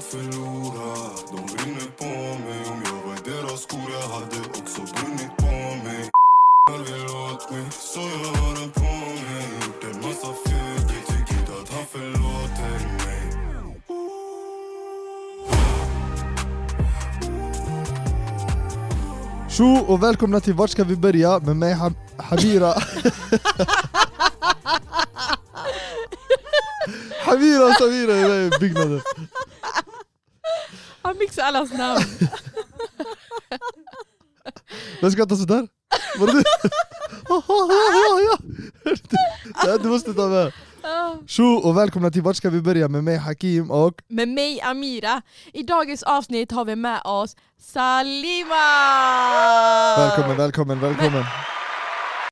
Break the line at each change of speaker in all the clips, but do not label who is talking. förlora De brinner på mig Om jag var i deras skor jag hade också brunnit på mig Han vill åt mig så jag har den på mig Gjort en massa fel Jag tycker inte att han förlåter mig
Tjo och välkomna till Vart ska vi börja med mig Hab- Habira Habira och Samira i den här byggnaden
Han mixar allas namn.
Den ska ta sådär? Var det du? Ja, ja. Det här du måste ta med Tjo och välkomna till Vart ska vi börja med mig Hakim och
Med mig Amira. I dagens avsnitt har vi med oss Salima!
Välkommen, välkommen, välkommen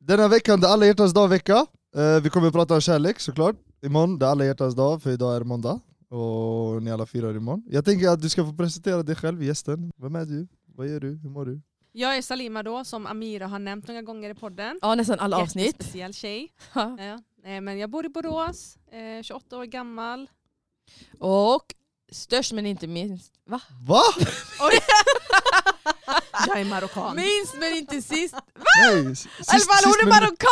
Denna veckan det är alla hjärtans dag-vecka Eh, Vi kommer att prata om kärlek såklart Imorgon det är alla hjärtans dag för idag är det måndag och ni alla firar imorgon Jag tänker att du ska få presentera dig själv, gästen Vem är du? Vad gör du? Hur mår du?
Jag är Salima då, som Amira har nämnt många gånger i podden.
Ja, nästan alla avsnitt.
Speciell tjej.
Ja.
Ja. Eh, Men jag bor i Borås, eh, 28 år gammal.
Och störst men inte minst. Va?
Va?
Jag är marockan.
Minst men inte sist.
Nej! s-
I alla
sist-
fall,
sist
hon är
men-
marockan!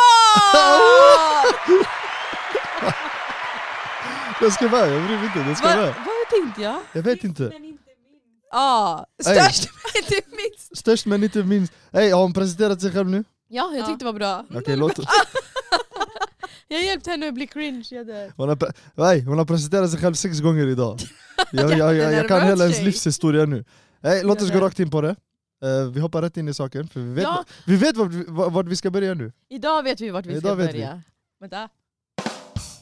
Jag ska med, jag bryr mig inte, jag ska
Vad
med
vad tänkte jag?
Jag vet inte
Ja, störst men inte minst.
Störst men inte minst Hej, har hon presenterat sig själv nu?
Ja, jag tyckte det var bra.
Okej, låt
Jag hjälpte henne att bli cringe. Jag dör.
hon har, pre- Nej, hon har presenterat sig själv sex gånger idag Jag, jag, jag, jag kan
Jättenervös
hela hennes
tjej.
livshistoria nu Nej, Låt oss gå
Jävlar.
rakt in på det Eh, Vi hoppar rätt in i saken, för vi vet,
Ja.
va- vi vet vart, vi- va- vart vi ska börja nu
Idag vet vi vart vi ska
Idag vet vi.
börja. Vänta.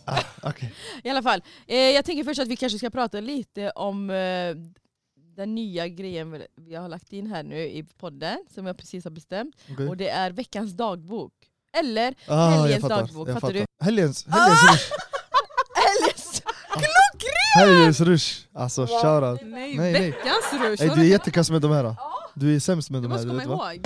ah, okej.
I alla fall, eh, jag tänker först att vi kanske ska prata lite om eh, den nya grejen vi- vi har lagt in här nu i podden, som jag precis har bestämt.
Okej.
Och det är veckans dagbok. Eller
Ah, jag
helgens
fattar,
dagbok,
jag
fattar du? Ah!
Helgens, helgens rush,
Helgens!
helgens rush! Alltså shoutout
Nej,
Nej, nej.
veckans rush!
Ey,
Har
du är jättekass med de här Du är sämst med
Du
de här,
måste
du
komma
vet va?
ihåg.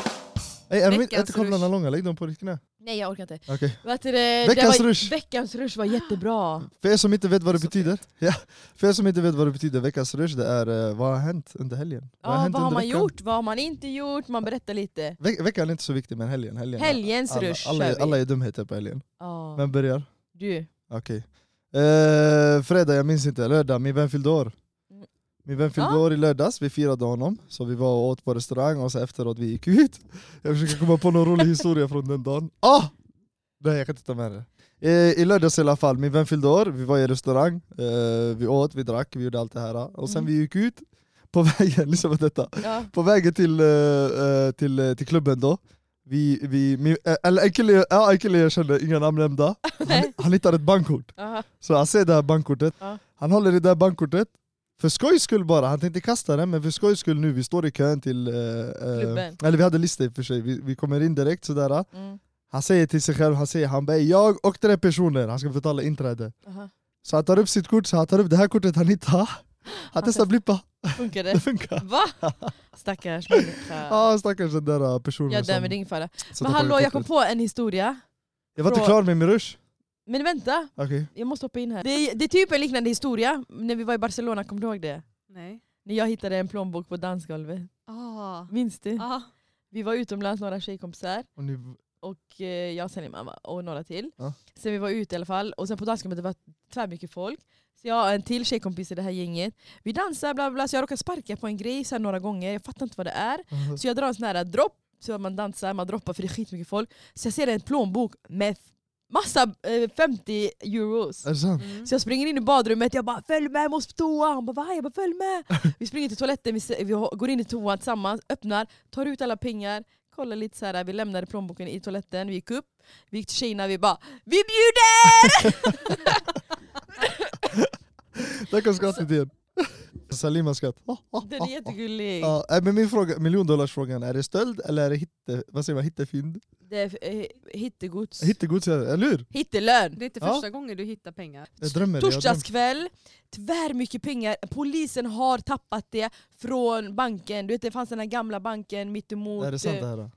Ey, är de inte
Veckans
ättekolvlarna
rush.
långa? Lägg dem på ditt knä
Nej jag orkar inte.
Okej
Vad heter det?
Veckans
det var,
rush.
Veckans rush var jättebra.
För er som inte vet vad det
Så
betyder, ja, för er som inte vet vad det betyder, veckans rush det är eh, vad har hänt under helgen?
Ja, vad har,
under
man
veckan?
gjort? Vad har man inte gjort? Man berättar lite.
Ve veckan är inte så viktig men helgen, helgen.
Helgens
alla,
rush
alla,
kör vi.
alla är dumheter på helgen.
Ja.
Vem börjar?
Du.
Okej. Eh, fredag, jag minns inte, lördag, min vän fyllde år.
Mm.
Min vän fyllde
Ja.
år i lördags, vi firade honom, så vi var och åt på restaurang och så efteråt vi gick ut. Jag försöker komma på någon rolig historia från den dagen. Ah! Nej jag kan inte ta med det. Eh, I lördags i alla fall, min vän fyllde år, vi var i restaurang, eh, vi åt, vi drack, vi gjorde allt det här. Och sen
Mm.
vi gick ut, på vägen, lyssna på detta
Ja.
på vägen till, eh, eh, till, eh, till klubben då, vi, vi, min, eh, eller en kille, ja, en kille jag känner, inga namn nämnda, han,
Nej.
han hittar ett bankkort.
Aha.
Så han ser det här bankkortet,
Ja.
han håller i det här bankkortet, för skojs skull bara, han tänkte kasta det, men för skojs skull nu, vi står i kön till... eh, eh,
Klubben.
eller vi hade lista i och för sig, vi, vi kommer in direkt sådär.
Mm.
Han säger till sig själv, han säger han bara jag och tre personer, han ska betala inträde.
Aha.
Så han tar upp sitt kort, så han tar upp det här kortet han hittar, han testar
testar.
blippa,
Funkar
det
det?
funkar.
Va? Stackars människa.
Ja ah, stackars den där eh, personen
Jag dör
som-
men det är ingen fara.
som
Men
tar
hallå,
kortet.
jag kom på en historia.
Jag var inte
Frå-
klar med min rush.
Men vänta,
Okej.
jag måste hoppa in här. Det, det är typ en liknande historia, när vi var i Barcelona, kommer du ihåg det?
Nej.
När jag hittade en plånbok på dansgolvet.
Ah.
Minns du?
Ah.
Vi var utomlands, några tjejkompisar,
Och ni...
och eh, jag och Selma va, och några till.
Ja.
Sen vi var ute i alla fall, och sen på dansgolvet det var tvärmycket folk. Så jag och en till tjejkompis i det här gänget, vi dansar bla bla, bla så jag råkar sparka på en grej så här några gånger, jag fattar inte vad det är. Så jag drar en sån här dropp, så man dansar, man droppar för det är skitmycket folk. Så jag ser en plånbok med massa eh, 50 euros.
Är det sant?
Mm.
Så jag springer in i badrummet, jag bara följ med, jag måste på toa. Hon bara va? Jag bara följ med. Vi springer till toaletten, vi, se- vi ho- går in i toan tillsammans, öppnar, tar ut alla pengar, kollar lite så här. vi lämnade plånboken i toaletten, vi gick upp, vi gick till tjejerna, vi bara vi bjuder!
Tack för skrattet igen. Salima skratt. Ah, ah,
Den är
ah,
jättegullig.
ah. Ja, men min fråga, miljondollarsfrågan, är det stöld eller är det hitte, vad säger man, hittefynd?
Det är eh, hittegods.
Hittegods, är det, eller hur?
Hittelön.
Det är inte
Ja.
första gången du hittar pengar.
Jag drömmer. jag drömmer.
Torsdagskväll, tvär mycket pengar. Polisen har tappat det från banken. Du vet det fanns den här gamla banken mittemot...
Är det sant det här? då?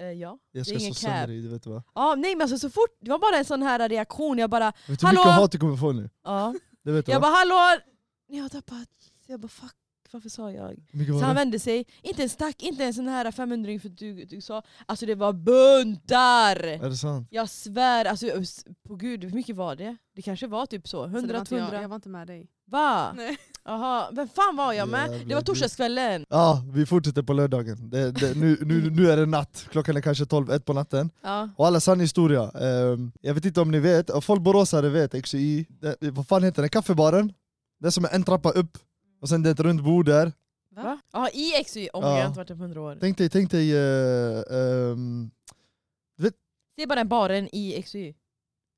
eh, ja.
Jag ska
är ingen
slå sönder
cab.
dig, du vet vad.
ja. Nej men alltså så fort, det var bara en sån här reaktion, jag bara...
Vet du hur
Hallå?
mycket hat du kommer få nu?
Ja.
Det vet du
Jag
va?
bara hallå! Ni har tappat. Så jag bara fuck. varför sa jag?
mycket
Så
var
han
det?
vände sig, inte ens tack, inte ens den här 500 för du, du sa. Alltså det var buntar!
Är det sant?
Jag svär, alltså ups, på gud hur mycket var det? Det kanske var typ så,
Så det var
100,
inte jag,
200.
jag var inte med dig.
Va?
Nej.
Jaha, vem fan var jag med? Det
Jävla
var
dyrt.
torsdagskvällen.
Ja, vi fortsätter på lördagen. Det, det, nu, nu, nu är det natt, klockan är kanske 12, 1 på natten.
Ja.
Och alla sann historia. Ehm, jag vet inte om ni vet, och folk boråsare vet, XI, det, vad fan heter den? Kaffebaren? Det är som en trappa upp, och sen det är ett runt bord där.
Va? Ja, i XY. Om
Ja.
jag har inte varit där på 100 år.
Tänk dig, tänk dig... eh, ehm,
Det är bara den baren i XY.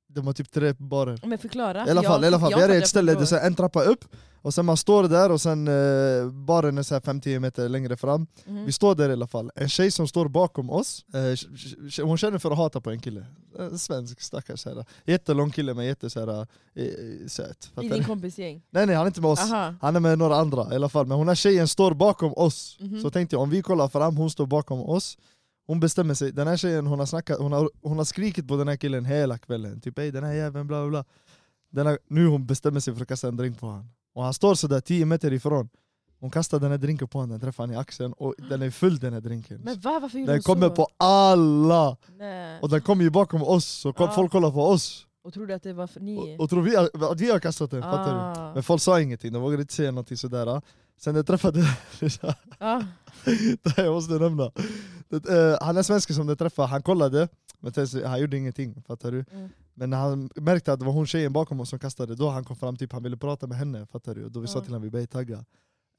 de har typ tre barer.
Men förklara.
I alla
jag-
fall, i alla fall.
jag
Vi är i
fattar
ett ställe,
på
det är så här en trappa upp, och sen man står där och sen eh, baren är så här 5-10 meter längre fram.
Mhm.
Vi står där i alla fall, en tjej som står bakom oss, eh, tj- tj- tj- hon känner för att hata på en kille. En svensk stackars såhär, jättelång kille men jätte såhär, eh, söt. Fattar
I
ni?
din kompis gäng.
Nej nej han är inte med oss,
Aha.
han är med några andra i alla fall. Men hon här tjejen står bakom oss.
Mhm.
Så tänkte jag om vi kollar fram, hon står bakom oss. Hon bestämmer sig, den här tjejen hon har, snackat, hon har, hon har skrikit på den här killen hela kvällen. Typ ey den här jäveln bla bla bla. Den här, nu hon bestämmer sig för att kasta en drink på honom. Och han står sådär 10 meter ifrån. Hon kastar den här drinken på honom, den träffar honom i axeln och den är full den här drinken.
Men va? Varför gjorde
Den
hon
kommer
så?
på alla!
Nej.
Och den kommer ju bakom oss, så kom,
Ja.
folk kollar på oss.
Och trodde att det var för ni?
Och, och tror vi att att vi har kastat den, fattar du?
ah.
Men folk sa ingenting, de vågade inte säga någonting sådär. Sen jag träffade,
Ah.
det här jag måste nämna. Det, eh, han är svensk som jag träffade, han kollade, men sen så- han gjorde ingenting. Fattar du?
Mm.
Men när han märkte att det var hon tjejen bakom oss som kastade, då han kom fram typ han ville prata med henne. Fattar du? Och då vi sa
Ja.
till honom vi började tagga.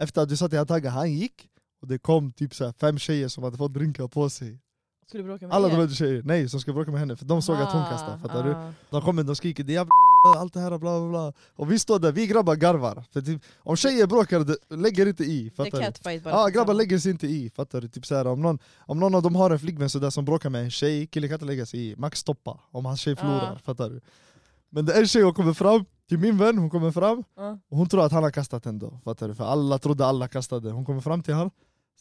Efter att vi sa till honom tagga, han gick. Och det kom typ så här fem tjejer som hade fått drinkar på sig.
Skulle bråka med
Alla
er?
de här tjejer, nej, som ska bråka med henne för de såg att hon
Aha,
kastade. Fattar du?
ah.
De kommer de skriker det är jävla allt det här och bla bla bla. Och vi står där, vi grabbar garvar. För typ, om tjejer bråkar, det- lägger inte i.
Det är
Fattar du?
catfight bara.
Ja,
liksom.
grabbar lägger sig inte i. Fattar du? Typ så här, om, någon, om någon av dem har en flickvän så där som bråkar med en tjej, killen kan inte lägga sig i. Max stoppa om hans tjej förlorar.
Ja.
Fattar du? Men det är en tjej som kommer fram, till min vän, hon kommer fram
Ja.
och hon tror att han har kastat den då. Fattar du? För alla trodde alla kastade. Hon kommer fram till honom,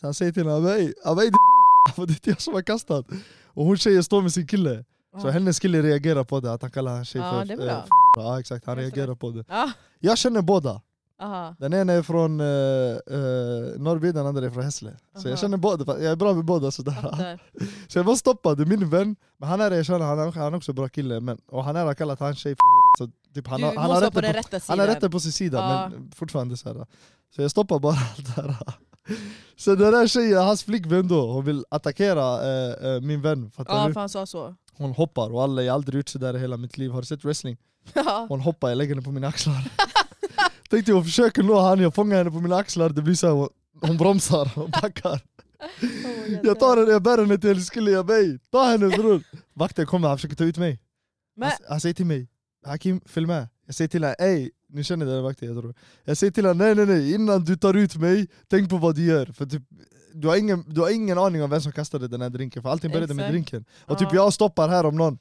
så han säger till henne Abey, Abey din för det är inte jag som har kastat. Och hon tjejen står med sin kille. Så
Ja.
hennes kille reagerar på det, att han kallar hans tjej
Ja,
för
Ah, det är
eh,
bra.
f- Ja exakt, han
Det är så
reagerar på det.
Ah.
Jag känner båda.
Aha.
Den ena är från uh, Norrby, den andra är från Hässle. Så jag
Aha.
känner båda, jag är bra med båda sådär.
Fattar.
Så jag var stoppad, det är min vän. Men han är erkänd, han är, han är också bra kille. Men, och han är kallat han tjej för så typ, han,
du
har, han, har
måste vara på
rätten
den
på,
rätta sidan.
han har rätten på sin sida,
Ja.
men fortfarande såhär. Så jag stoppar bara allt det här. Så den där tjejen, hans flickvän då, hon vill attackera eh, eh, min vän. Fattar
Ja,
du?
för han sa så.
Hon hoppar och alla, jag har aldrig gjort sådär i hela mitt liv. Har du sett wrestling?
Ja.
Hon hoppar, jag lägger henne på mina axlar. Tänkte jag försöker nå han, jag fångar henne på mina axlar, det blir så här, hon- hon bromsar och backar. Jag tar henne, jag bär henne till hennes kille, jag ber ta henne bror. Vakten kommer, han försöker ta ut mig.
Men-
Han, han säger till mig, Hakim följ med. Jag säger till honom, ey, ni känner den vakten jag tror. Jag säger till honom, nej nej nej, innan du tar ut mig, tänk på vad du gör. För typ, du, har ingen, du har ingen aning om vem som kastade den här drinken, för allting började med
Exakt.
drinken. Och typ
Ja.
jag stoppar här om någon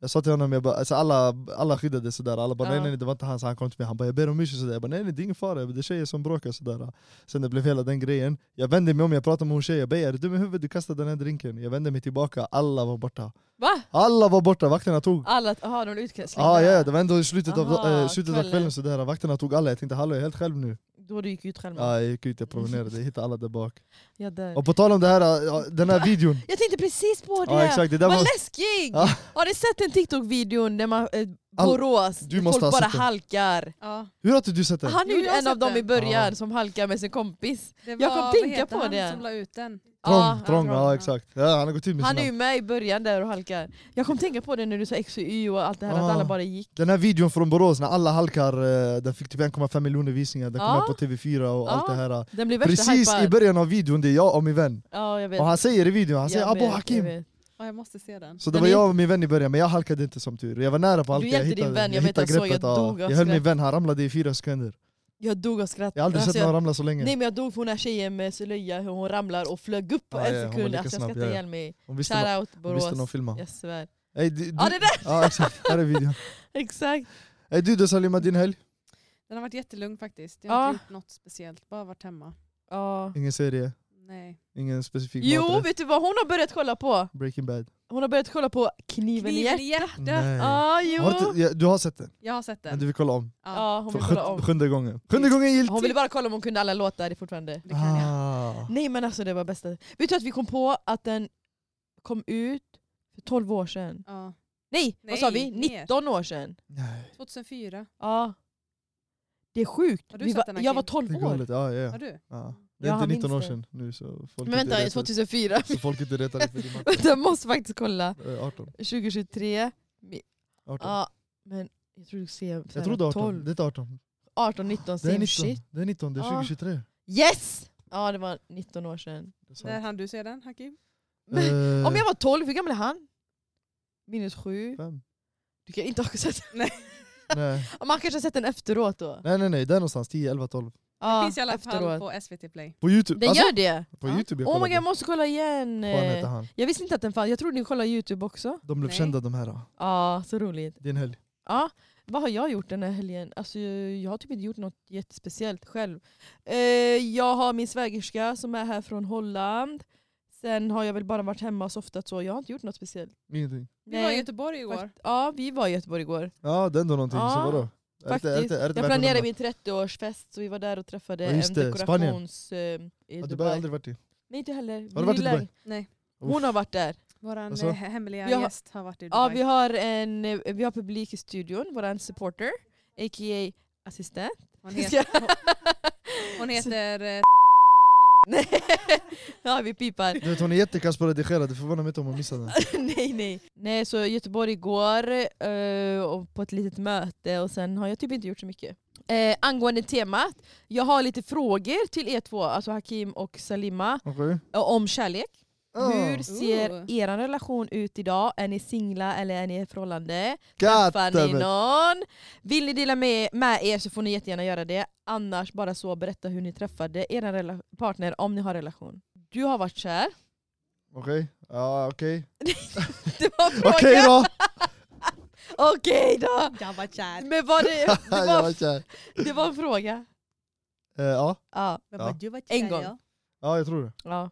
jag sa till honom, jag bara, alltså alla, alla skyddade sådär, alla bara nej
Ja.
nej nej, det var inte han, så han kom till mig, han bara jag ber om ursäkt sådär, jag bara nej nej det är ingen fara, det är tjejer som bråkar sådär Sen det blev hela den grejen, jag vände mig om, jag pratade med hon tjejen, jag bara är du dum i huvudet, du kastade den här drinken Jag vände mig tillbaka, alla var borta
Va?
Alla var borta, vakterna tog
Alla, aha, de blev utkastade?
ah, ja, ja, det var ändå i slutet, av,
Aha,
eh, slutet av
kvällen.
kvällen sådär, vakterna tog alla, jag tänkte hallå jag är helt själv nu
Då du gick ut själv?
ah, Jag gick ut, jag promenerade, jag hittade alla där bak
Jag dör.
Och på tal om det här, eh, den här videon
Jag tänkte precis på det!
Ja, exakt, det där
Vad
var-
läskig!
Ja.
Har ni sett den TikTok-videon där man, eh,
All-
Borås,
Du
där
måste
folk
ha
bara
sett den.
halkar?
Ja,
Hur har inte du sett den?
Han är
Jo,
ju
jag har
en av
sett
dem i
den.
början
Ja.
som halkar med sin kompis.
det
Jag kom
vad
tänka
heter
på
han
det.
som la ut den.
Trång,
Ja, han-
trång, ja
Trång, ja.
exakt ja, Han har gått ut med
Han
sina-
är ju med i början där och halkar. Jag kom tänka på det när du sa XY och allt det här,
Ja.
att alla bara gick.
Den här videon från Borås när alla halkar, eh, den fick typ 1,5 miljoner visningar, den kom
Ja.
upp på TV4 och allt det
Ja.
här.
Den blev Ah. värsta
Precis i
hypad.
början av videon, det är jag och min vän.
Ja, jag vet.
Och han säger i videon, han
Jag
säger
vet,
Abo
jag
Hakim.
vet.
Ja, jag måste se den.
Så det
Men
var
ni-
jag och min vän i början, men jag halkade inte som tur Jag var nära på att halka,
Du hjälpte din vän, jag vet,
hittade
jag såg, jag
greppet, ja.
dog av
Jag höll min
skratt.
vän, han ramlade i fyra sekunder.
Jag dog av skratt.
Jag har aldrig
Alltså,
sett någon ramla så länge.
Nej men jag dog för hon här tjejen med slöja, hur hon ramlar och flög upp på
Ja,
en
ja, hon var
sekund.
lika
Alltså jag
snabb,
skrattade
ja, ja.
ihjäl mig.
Hon visste någon-
Shoutout
hon visste någon
Borås.
filma.
Jag svär.
Ey, du- du-
Ja det där!
Ja exakt, här är videon.
Exakt.
Ey, du då Salima, din helg?
Den har varit jättelugn faktiskt. Jag har
Ja.
inte gjort något speciellt, bara varit hemma.
Ja.
Ingen serie?
Nej.
Ingen specifik
Jo,
maträtt?
vet du vad hon har börjat kolla på?
Breaking Bad.
Hon har börjat kolla på Kniven i
Kniven i
hjärtat.
hjärtat.
Nej.
Ah, jo.
Har du, inte- ja, du har sett den,
Jag har sett
men
den.
du vill kolla om.
Ja,
Ja, hon
För
vill kolla
sjut-
om.
Sjunde gången. Sjunde gången giltigt!
Hon ville bara kolla om hon kunde alla låtar det är fortfarande.
det kan jag.
Ah.
Nej men alltså det var bästa. Vet du att vi kom på att den kom ut för 12 år sedan?
Ja.
Nej, vad sa vi?
Nej, mer.
19 år sedan.
Nej,
2004.
Ja. Det är sjukt.
Har du
Vi
sett
var,
den här
jag var
killen?
12
det är
år.
galet. Ja, ja,
Har
ja.
du?
Ja. Det
Ja,
är
han
inte 19 år
minns det.
sedan nu så folk
Men
inte
vänta,
retar,
2004.
så folk inte retar dig för din
Vänta, jag måste faktiskt kolla.
maträtt. Eh, 18.
2023.
18.
Ja, men jag tror du ser
Jag trodde 18,
12.
det är inte 18.
18, 19,
Det är
same
19,
shit.
det är, 19, det är
Ja.
2023.
Yes! Ja det var 19 år sedan.
Det är sant.
När hann du se den, Hakim?
Men,
Eh,
Om jag var 12, hur gammal är han? Minus 7.
fem.
Du kan inte ha sett
Nej.
Man kanske har sett den efteråt då.
nej, nej, nej, det är någonstans 10, 11, 12.
Ja,
Finns i alla fall
efteråt.
på SVT Play.
På youtube.
Den
alltså,
gör det!
på
Ja.
youtube jag
Oh my god,
kollade.
jag måste kolla igen!
Vad heter han?
Jag visste inte att den fanns, jag trodde ni kollade youtube också.
De blev
Nej.
kända de här. ah.
Ja, så roligt.
Det är en helg.
Ja, vad har jag gjort den här helgen? Alltså, jag har typ inte gjort något jättespeciellt själv. Eh, jag har min svägerska som är här från Holland. Sen har jag väl bara varit hemma och softat så, jag har inte gjort något speciellt.
Ingenting.
Vi var i Göteborg igår.
fakt- Ja, vi var i Göteborg igår.
Ja, det är ändå någonting.
Ja,
Så vadå? Är det- är det- är det
Faktiskt.
värt att
Jag planerade
nämna?
min 30-årsfest så vi var där och träffade
Ja,
en
just det, Spanien.
dekorations... Eh, i
Ja, Dubai har jag
Dubai.
aldrig varit i.
Nej inte heller.
Har du varit i
Vi
Dubai?
lär-
Nej.
Hon har varit där.
Våran
Alltså?
eh, hemliga
Vi har-
gäst har varit i Dubai.
Ja, vi, har en, eh, vi har publik i studion, vår supporter, a.k.a. assistent.
Hon heter, hon heter eh,
Nej. ja, vi pipar.
Du vet, hon är jättekass på att redigera, det förvånar mig inte om hon missar den.
nej, nej. Nej, så Göteborg igår eh, och på ett litet möte och sen har jag typ inte gjort så mycket. Eh, angående temat, jag har lite frågor till er två, alltså Hakim och Salima,
Okej?
eh, om kärlek.
Ah,
Hur
Ooh.
ser er relation ut idag? Är ni singla eller är ni i ett förhållande? Träffar
Ah, God damn
ni
it.
någon? Vill ni dela med, med er så får ni jättegärna göra det. Annars bara så berätta hur ni träffade er rela- partner om ni har relation. Du har varit kär.
Okej, ja okej.
Det var frågan.
Okej då!
Okej då!
Jag var kär.
Men var det, det,
Jag var
var,
kär.
det var en fråga.
Eh, Ja,
Ja,
Men
Ja.
vad du var kär.
En gång.
ja.
ja jag tror det.
ja.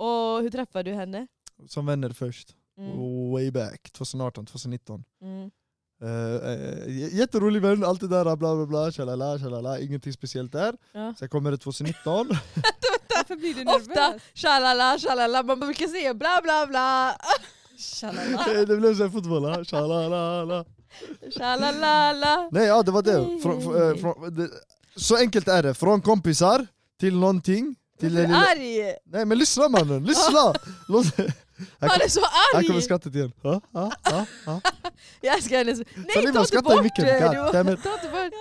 Och hur träffade du henne?
Som vänner först.
Mm.
Way back, 2018, 2019.
Mm.
Uh, jätterolig vän, allt det där bla bla bla, tjalala, tjalala, ingenting speciellt där.
Ja.
Sen kommer det 2019.
Varför blir du nervös?
Ofta tjalala tjalala, man brukar säga bla bla bla.
Tjalala.
det blev såhär fotboll, ah, tjalalala.
Tjalalala.
Nej ja det var det.
Hej,
Frå, fr,
hej.
eh, från- det. Så enkelt är det, från kompisar till någonting. Till
Varför är du arg?
Nej men lyssna mannen, lyssna! Låt, här,
Han
kom,
är så
här kommer
arg!
skrattet igen. Ah, ah, ah, ah.
Jag älskar henne så... Nej,
Salima,
ta inte
skratta i
bort
micken.
det!
God damn
Du,
it.
ta inte bort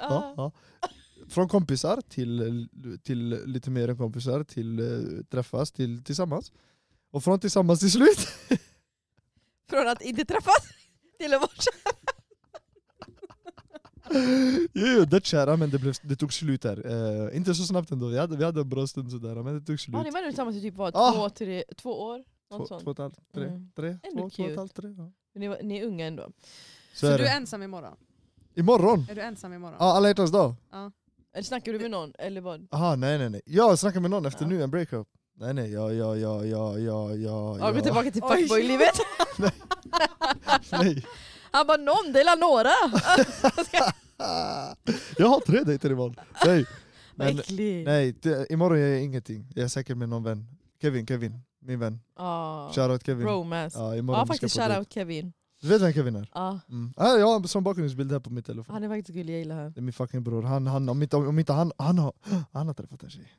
Ja,
Ja.
ja. Från kompisar till, till lite mer än kompisar, till eh, träffas, till tillsammans. Och från tillsammans till slut.
Från att inte träffas till att vara kär.
Jo, jo, det kära men det, blev, det tog slut där. Eh, inte så snabbt ändå, vi hade, vi hade en bra stund sådär men det tog slut.
Ja, ni var ändå tillsammans i typ vad,
Ah.
två, tre, två år? Något
två,
sånt.
två och ett halvt, tre,
Mm.
tre,
Ändå
två, två och ett
cute.
halvt, tre. Ja.
Men Ni, var- ni är unga ändå.
Så,
Så
är
du är
det.
ensam imorgon?
Imorgon!
Är du ensam imorgon?
Ja, alla hjärtans dag.
Eller snackar du med någon? Eller vad?
Aha, nej nej nej. Jag snackar med någon efter
Ja.
nu, en breakup. Nej nej, ja ja ja ja ja ja.
Ja, gå
ja.
tillbaka till
Oj.
fuckboy-livet.
Nej.
Han bara någon, dela några!
Jag har tre dejter imorgon. Nej. Men,
Vad äcklig.
nej, det, imorgon gör jag ingenting. Jag är säkert med någon vän. Kevin, Kevin. Min vän.
Ah.
Shoutout Kevin.
Romance.
Ja, imorgon
Ja
vi
faktiskt
ska på dejt.
shoutout Kevin.
Du vet vem Kevin är?
Ja,
Mm. Ah, jag har en sån bakgrundsbild här på min telefon.
han är faktiskt gullig, jag gillar han.
Det är min fucking bror. Han, han, om inte, om inte han, han, har, han har träffat en tjej.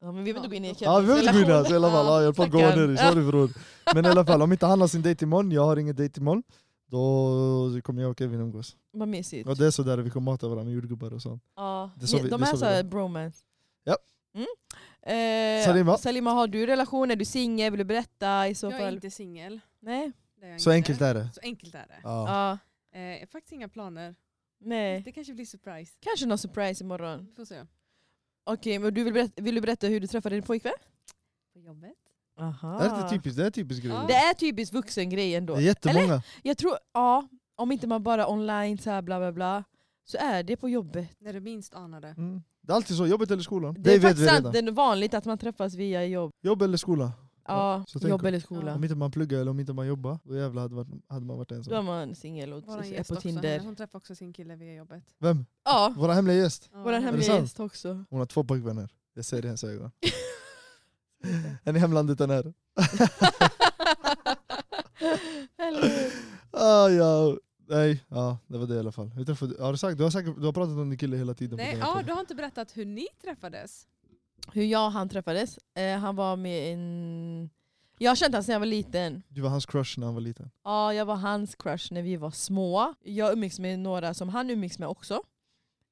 Ja, men vi behöver inte gå in i Kevins
Ja, vi behöver inte gå in här,
relation.
så i alla fall. Ja, jag höll på att gå
stackarn.
ner i. Sorry bror. Men i alla fall, om inte han har sin dejt imorgon, jag har ingen dejt imorgon, då kommer jag och Kevin umgås.
Vad mysigt.
Och det är sådär, vi kommer mata varandra med jordgubbar och sånt.
Ja,
Det sa vi-
de
det
är
sa vi
såhär
då.
bromance.
Ja.
Mm. Eh,
Salima?
Salima, har du relation? Är du singel? Vill du berätta? I så
Jag är
fall.
inte singel.
Nej.
Det är jag
Så
inte.
enkelt är det.
Så enkelt är det.
Ja.
Ja.
Eh, jag har faktiskt inga planer.
nej.
Det kanske blir surprise.
Kanske någon surprise imorgon.
Vi får se.
Okej, men du vill, berätta, vill du berätta hur du träffade din pojkvän?
På jobbet.
Aha.
Det är lite typiskt, det är en typisk grej.
Ja.
Det är typiskt vuxen grej ändå.
Det är jättemånga.
Jag tror, ja, om inte man bara online så här bla bla bla, så är det på jobbet.
När du minst anade.
Mm. Det är alltid så, jobbet eller skolan.
Det är faktiskt sant, det är vanligt att man träffas via jobb.
Jobb eller skola.
Ja,
så tänk-
jobb eller skola.
Om inte man pluggar eller om inte man jobbar, då jävlar hade, varit, hade man varit
Då
ensam.
är man singel och
Vår
är
gäst
på
också, henne,
Tinder.
hon träffade också sin kille via jobbet.
Vem?
Ja,
Vår hemliga gäst.
Ja,
vår
det-
hemliga
sant?
gäst också.
Hon har två pojkvänner. Jag ser det i hennes ögon. En i hemlandet, en här.
Eller-
Ah, ja. Nej, ja, det var det i alla fall. Vi träffade, har du, sagt, du, har säkert, du har pratat om din kille hela tiden. på
Nej,
den här
ja,
podden.
du har inte berättat hur ni träffades.
Hur jag och han träffades, eh, han var med en... Jag har känt honom sedan jag var liten.
du var hans crush när han var liten.
Ja, jag var hans crush när vi var små. Jag umgicks med några som han umgicks med också.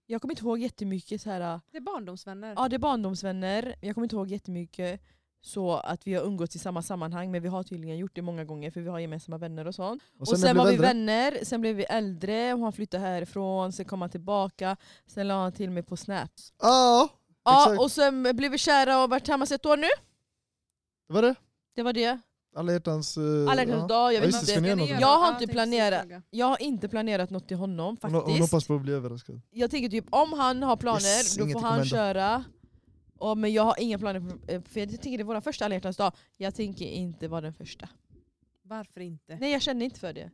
Jag kommer inte ihåg jättemycket så här... eh,
Det är barndomsvänner.
Ja, det är barndomsvänner. Jag kommer inte ihåg jättemycket så att vi har umgåtts i samma sammanhang men vi har tydligen gjort det många gånger för vi har gemensamma vänner och sånt. Och sen,
när jag
var
blev
vi vänner, sen blev vi äldre, och han flyttade härifrån, sen kom han tillbaka, sen la han till mig på Snap.
Ja,
Ja,
Exakt.
och sen blev vi kära och har varit tillsammans ett år nu.
det var det.
Det var det.
Alla hjärtans... eh,
Alla
ja.
hjärtans dag, jag
Ja,
vet
just det, ska
inte.
ni göra något?
Jag har inte
Ja, tänkte
planerat.
fråga.
Jag har inte planerat något till honom
Hon,
faktiskt.
hon hoppas på att bli överraskad.
Jag tänker typ om han har planer,
Yes,
då
inget
får
kommer
han
hända.
köra. Och, men jag har inga planer, på- eh, för jag tänker det är vår första alla hjärtans dag. Jag tänker inte vara den första.
Varför inte?
Nej jag känner inte för det.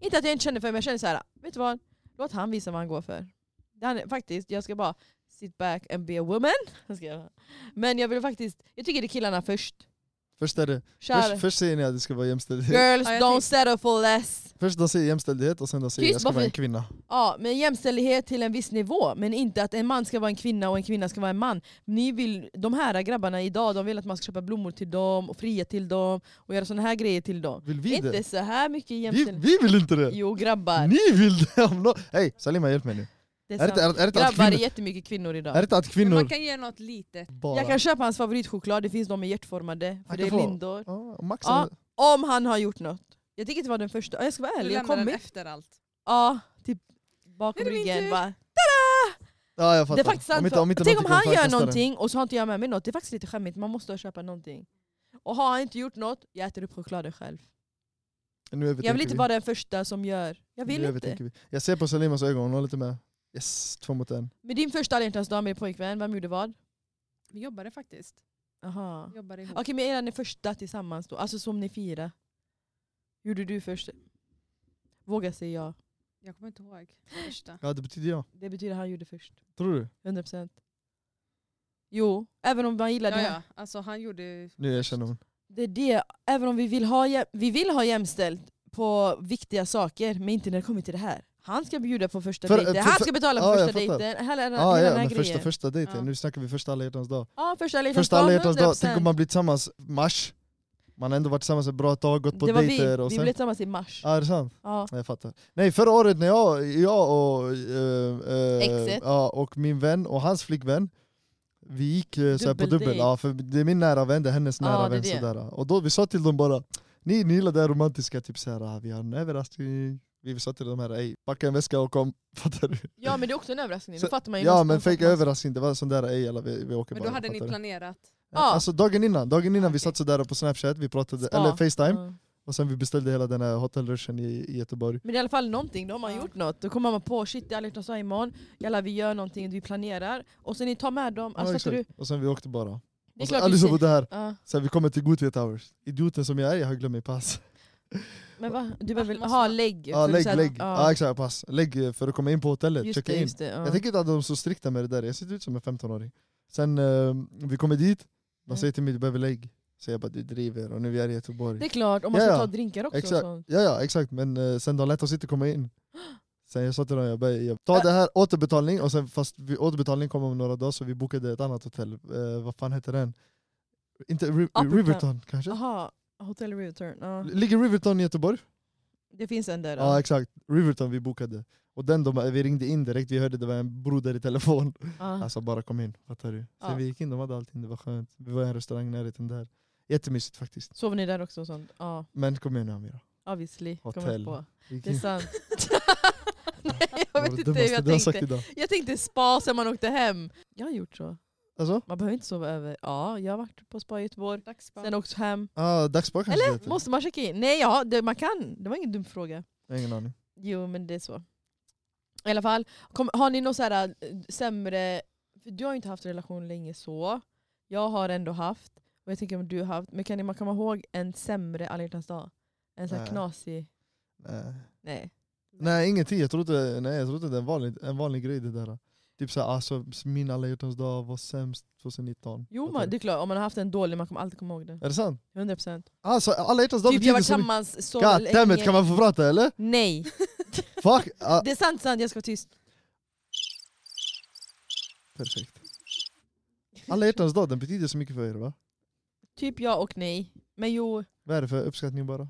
Inte att jag inte känner för det, men jag känner så här. vet du vad? Låt han visa vad han går för. Det Han, faktiskt, jag ska bara sit back and be a woman. Jag ska göra. Men jag vill faktiskt, jag tycker det är killarna först.
Först, är det,
Kör.
först, först säger ni att det ska vara jämställdhet.
Girls
Ja, jag
don't
tänk-
settle for less.
Först de säger jämställdhet och sen de säger
Tyst,
jag ska vara
varför-
en kvinna.
Ja, men jämställdhet till en viss nivå, men inte att en man ska vara en kvinna och en kvinna ska vara en man. Ni vill, de här grabbarna idag de vill att man ska köpa blommor till dem, och fria till dem, och göra såna här grejer till dem.
Vill vi
Inte
det?
så här mycket
Vi,
jämställdhet.
vi vill inte det!
Jo grabbar,
Ni vill det! om nå- Hej Salima hjälp mig nu.
det är
Är det, inte-
sant.
är, det inte att
Grabbar är
kvinnor,
jättemycket kvinnor idag.
är det inte att
Men
kvinnor
man kan ge något litet.
bara...
Jag kan köpa hans favoritchoklad, det finns de med hjärtformade, för
Han
det
kan
är
få-
lindor.
Ja, Max
Ja. Om han har gjort något. Jag tänker inte vara den första, Ja, jag ska vara
Du
ärlig, jag
lämnar den
kommer
efter allt.
ja, typ bakom
Nu är det min
ryggen
tur.
bara
ja, jag
Det
fattar.
är faktiskt sant,
Om inte-
för-
om inte
tänk om
någon
han
tycker
gör
kastar den.
någonting och så har inte jag med mig något, det är faktiskt lite skämmigt, man måste köpa någonting. Och har han inte gjort något, jag äter upp chokladen själv.
Nu
Jag
övertänker
vill inte
vi.
vara den första som gör, jag vill
Nu
inte.
övertänker vi. Jag ser på Salimas ögon, hon håller inte med. Yes, två mot en.
Med din första alla hjärtans dag med pojkvän, vem gjorde vad?
Vi jobbade faktiskt.
Aha.
Vi jobbade ihop.
Okej men era ni första tillsammans då, alltså som ni fyra. Gjorde du först? Våga säga ja.
Jag kommer inte ihåg. Första.
Ja det betyder jag.
Det betyder han gjorde först.
Tror du?
100%. Jo, även om man gillar
Ja,
det
ja. Alltså, han gjorde...
Nu erkänner hon.
Det är det, även om vi vill ha, jäm- vi vill ha jämställt på viktiga saker, men inte när det kommer till det här. Han ska bjuda på första
För- eh,
dejten,
för-
han ska betala
ja,
för
jag
första
fattar.
dejten, hela, hela,
Ah,
hela
ja,
den här
men
grejen.
första, första dejten,
Ja.
nu snackar vi första alla hjärtans dag.
ja, första alla hjärtans
Första alla hjärtans dag,
100%.
tänk om man blir tillsammans mars. Man har ändå varit tillsammans ett bra tag, gått på
Det var vi,
dejter och
vi
sen...
blev tillsammans i mars.
Ja, är det sant?
Ja.
Ja, Jag fattar. Nej, förra året när jag, jag och, eh, eh,
Exet.
ja, och min vän och hans flickvän, vi gick eh, så här på
Dubbeldejt.
dubbel, ja, för det är min nära vän, det är hennes
Ja,
nära
det
vän.
är det.
Sådär. Och då vi sa till dem bara, ni, ni gillar det här romantiska, typ såhär, ah, vi har en överraskning. Vi sa till dem här, ey, packa en väska och kom. Fattar du?
ja men det är också en överraskning,
Så-
nu fattar man ju
Ja
någonstans
men
att
fake
man-
överraskning, det var sån där, ey alla vi, vi åker
Men då
bara.
hade ni
fattar du?
planerat.
Ja,
Ja.
Alltså dagen innan, dagen innan vi
Okej.
satt sådär på snapchat, vi pratade,
Ah. Spa.
eller facetime,
Ja.
och sen vi beställde hela den här hotellruschen i, i Göteborg.
Men det är i alla fall någonting, då har man
Ja.
gjort något. Då kommer man på shit det är alla hjärtans dag imorgon, jalla vi gör någonting, vi planerar. Och sen ni tar med dem, alltså
Ja,
fattar du?
exakt. Och sen vi åkte bara.
Det är
Och så
klart
Alice
vi
bodde här,
Ja,
sen vi kommer till Gothia Towers. Idioten som jag är, jag har glömt mitt pass.
men va? Du behöver väl
måste
ha
man-
lägg?
Ja,
för
lägg,
så att-
lägg.
ja.
Ja, exakt, pass. Lägg eh, för att komma in på hotellet,
Just
checka
det,
in.
just det. Ja.
Jag tänker inte att de är så strikta med det där, jag ser ut som en 15-åring. Sen eh, vi kommer dit, de
Mm.
säger till mig du behöver lägg. Så jag bara du driver och nu är vi här i
Det
Göteborg.
är klart, om man
Ja,
ska
ja.
ta drinkar också.
Exakt.
Och sånt.
Ja, ja exakt, men eh, sen de lät oss inte komma in. Sen jag sa till dem, jag, bara, jag tar det här återbetalning, och sen fast vi, återbetalning kommer om några dagar så vi bokade ett annat hotell, eh, vad fan hette den? Inte Ri-
Uppertown.
Riverton kanske?
Aha, Hotel Return. Ja.
Ligger Riverton i Göteborg?
Det finns en där.
Ja
Ja.
exakt, Riverton vi bokade. Och den de, vi ringde in direkt, vi hörde det var en broder i telefon.
Ja.
Alltså bara kom in, fattar du? Sen
Ja.
vi gick in, de hade allting, det var skönt. Vi var i en restaurang i närheten där. Jättemysigt faktiskt.
Sover ni där också och sånt? Ja,
Men kom igen nu Amira.
obviously. Kom
Hotell.
jag på.
Vi gick
Det är
in.
sant. Nej, jag
Det var
vet
det
inte hur
dummaste
jag
du har sagt
tänkte.
idag.
Jag tänkte spa sen man åkte hem. Jag har gjort så.
Alltså?
Man behöver inte sova över. Ja, jag har varit på spa i Göteborg,
Dagsbarn.
sen åkt hem.
Ah, dagsbar kanske det heter.
Måste man checka in? Nej, ja, det, man kan. Det var ingen dum fråga.
Jag har Ingen aning.
Jo, men det är så. I alla fall, kom, har ni något så här, eh, äh, sämre För du har ju inte haft relation länge så. Jag har ändå haft, och jag tänker om du har haft. Men kan ni man komma ihåg en sämre alla hjärtans dag? En sån här
Nej.
knasig...
Nej.
Nej.
Eh, Nej ingenting, jag trodde, nej, jag trodde det är en vanlig, en vanlig grej det där. Typ såhär, alltså min alla hjärtans dag var sämst 2019.
Jo
Fattar
man, det
du?
är klart, om man har haft en dålig man kommer alltid komma ihåg den.
Är det sant?
100%.
Alltså alla hjärtans dag
Typ jag
betyder så
var
mycket.
tillsammans så
God damn it,
länge.
kan man få prata eller?
Nej,
Fuck! Ah,
det är sant, sant jag ska vara tyst.
perfekt. Alla hjärtans dag, den betyder så mycket för er va?
Typ ja och nej. Men jo,
Vad är det för uppskattning bara?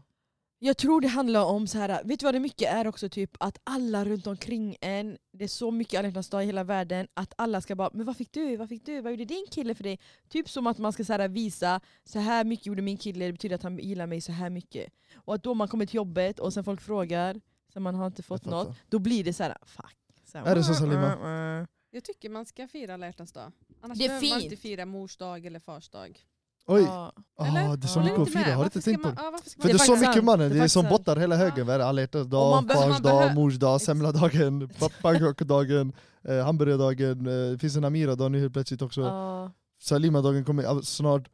jag tror det handlar om så här. vet du vad det mycket är också? typ Att alla runt omkring en, det är så mycket alla hjärtans dag i hela världen, att alla ska bara “men vad fick du? Vad fick du? Vad gjorde din kille för dig?” Typ som att man ska så här, visa “så här mycket gjorde min kille, det betyder att han gillar mig så här mycket”. Och att då man kommer till jobbet och sen folk frågar, så man har inte fått
Jag fattar.
något, då blir det så här “fuck”. Så här,
Är det så,
"Wah,
Salima?"
wah, wah.
Jag tycker man ska fira alla hjärtans dag. Annars
Det är
behöver man inte
fint.
fira mors dag eller fars dag.
Oj!
Ja.
Ah,
eller?
det är så
Håller
mycket
ni
att
inte med?
fira,
Varför
har du inte
ska
tänkt på
man-
det?
ja, varför ska
För
man-
det är så
faktiskt
mycket
sant.
mannen,
Det
det
är
är som
faktiskt
bottar hela högen. Vad är det? Alla hjärtans dag,
man behö-
fars
man
dag,
behö-
mors dag, semladagen,
Exakt.
pannkakadagen, eh, hamburgardagen, eh, det finns en Amira-dag nu helt plötsligt också.
Ja.
Salima-dagen kommer ah, snart.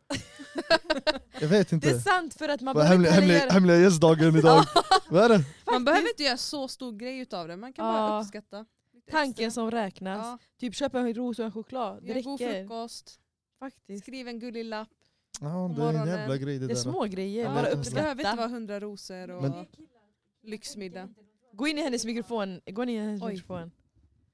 Jag vet
Det är
inte.
sant för att man
Vad är hemliga,
behöver inte heller
hemliga,
göra-
hemliga gästdagen idag. Vad är det?
Man behöver inte göra så stor grej utav det, man kan bara
Ja.
uppskatta. lite
Tanken
extra.
som räknas.
Ja,
Typ köpa en ros och en choklad. Det
gör god
räcker.
frukost,
Faktiskt.
skriv en gullig lapp.
Ja, det är en
morgonen.
jävla grej det
Det är
där.
små grejer,
Ja,
bara
det är sant.
det behöver inte
uppskatta.
vara hundra rosor och
Men-
lyxmiddag.
Gå in i hennes mikrofon. Gå in i hennes
Oj.
mikrofon.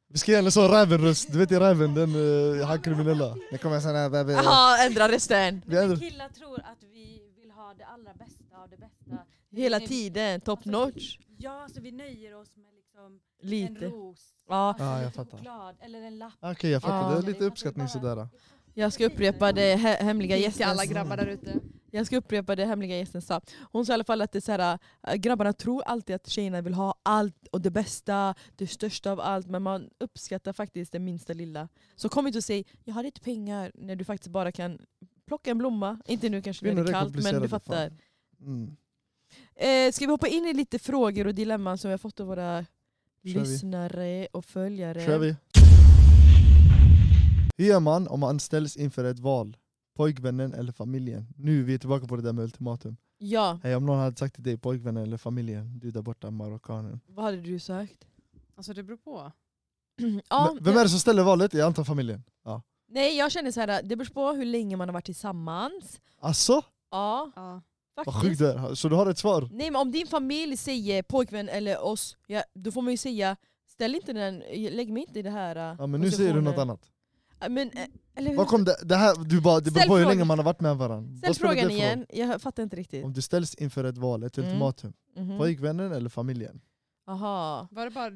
Vi ska göra en sån räven-röst, du vet i räven, den eh, han kriminella. Det kommer en sån här... baby.
Jaha, ändra rösten.
Vi ändrar-
Killar tror att vi vill ha det allra bästa av det bästa. liksom-
Hela tiden, top notch.
Ja, så vi nöjer oss med liksom en
Lite.
ros.
Ja,
Ja, jag
lite
fattar.
choklad eller en lapp.
Okej jag fattar,
Ja.
det är lite uppskattning sådär.
jag ska upprepa det he- hemliga
Tips till alla
gästens...
grabbar där ute.
Jag ska upprepa det hemliga gästen sa. Hon sa i alla fall att det är så här, äh, grabbarna tror alltid att tjejerna vill ha allt och det bästa, det största av allt. Men man uppskattar faktiskt det minsta lilla. Så kom inte och säg jag har inte pengar när du faktiskt bara kan plocka en blomma. Inte nu kanske när
Kvinnor
det
är
är kallt men
komplicerade,
du
fan.
fattar.
Mm.
Eh, ska vi hoppa in i lite frågor och dilemman som vi har fått av våra
vi.
lyssnare och följare?
Kör vi. Hur gör man om man ställs inför ett val? Pojkvännen eller familjen? Nu vi är tillbaka på det där med ultimatum.
Ja,
Hej, om någon hade sagt till dig pojkvännen eller familjen, du där borta marockanen.
vad hade du sagt?
Alltså det beror på.
ja,
Men Vem är det som ställer valet? Jag antar familjen. Ja.
Nej jag känner så här, det beror på hur länge man har varit tillsammans.
Alltså,
Ja,
Ja.
vad
faktiskt.
sjukt det är. Så du har ett svar?
Nej men om din familj säger pojkvän eller oss, ja, då får man ju säga ställ inte den, lägg mig inte i det här. äh,
Ja, men nu säger du något
positionen."
annat.
Ja, Men, äh, eller, hur?
Vad kom det, det här? Du bara, det beror
Ställ
på hur
frågan.
länge man har varit med varandra.
Ställ frågan igen, jag fattar inte riktigt.
Om du ställs inför ett val, ett
Mm.
ultimatum.
Mhm.
Pojkvännen eller familjen?
Aha.
Var det bara...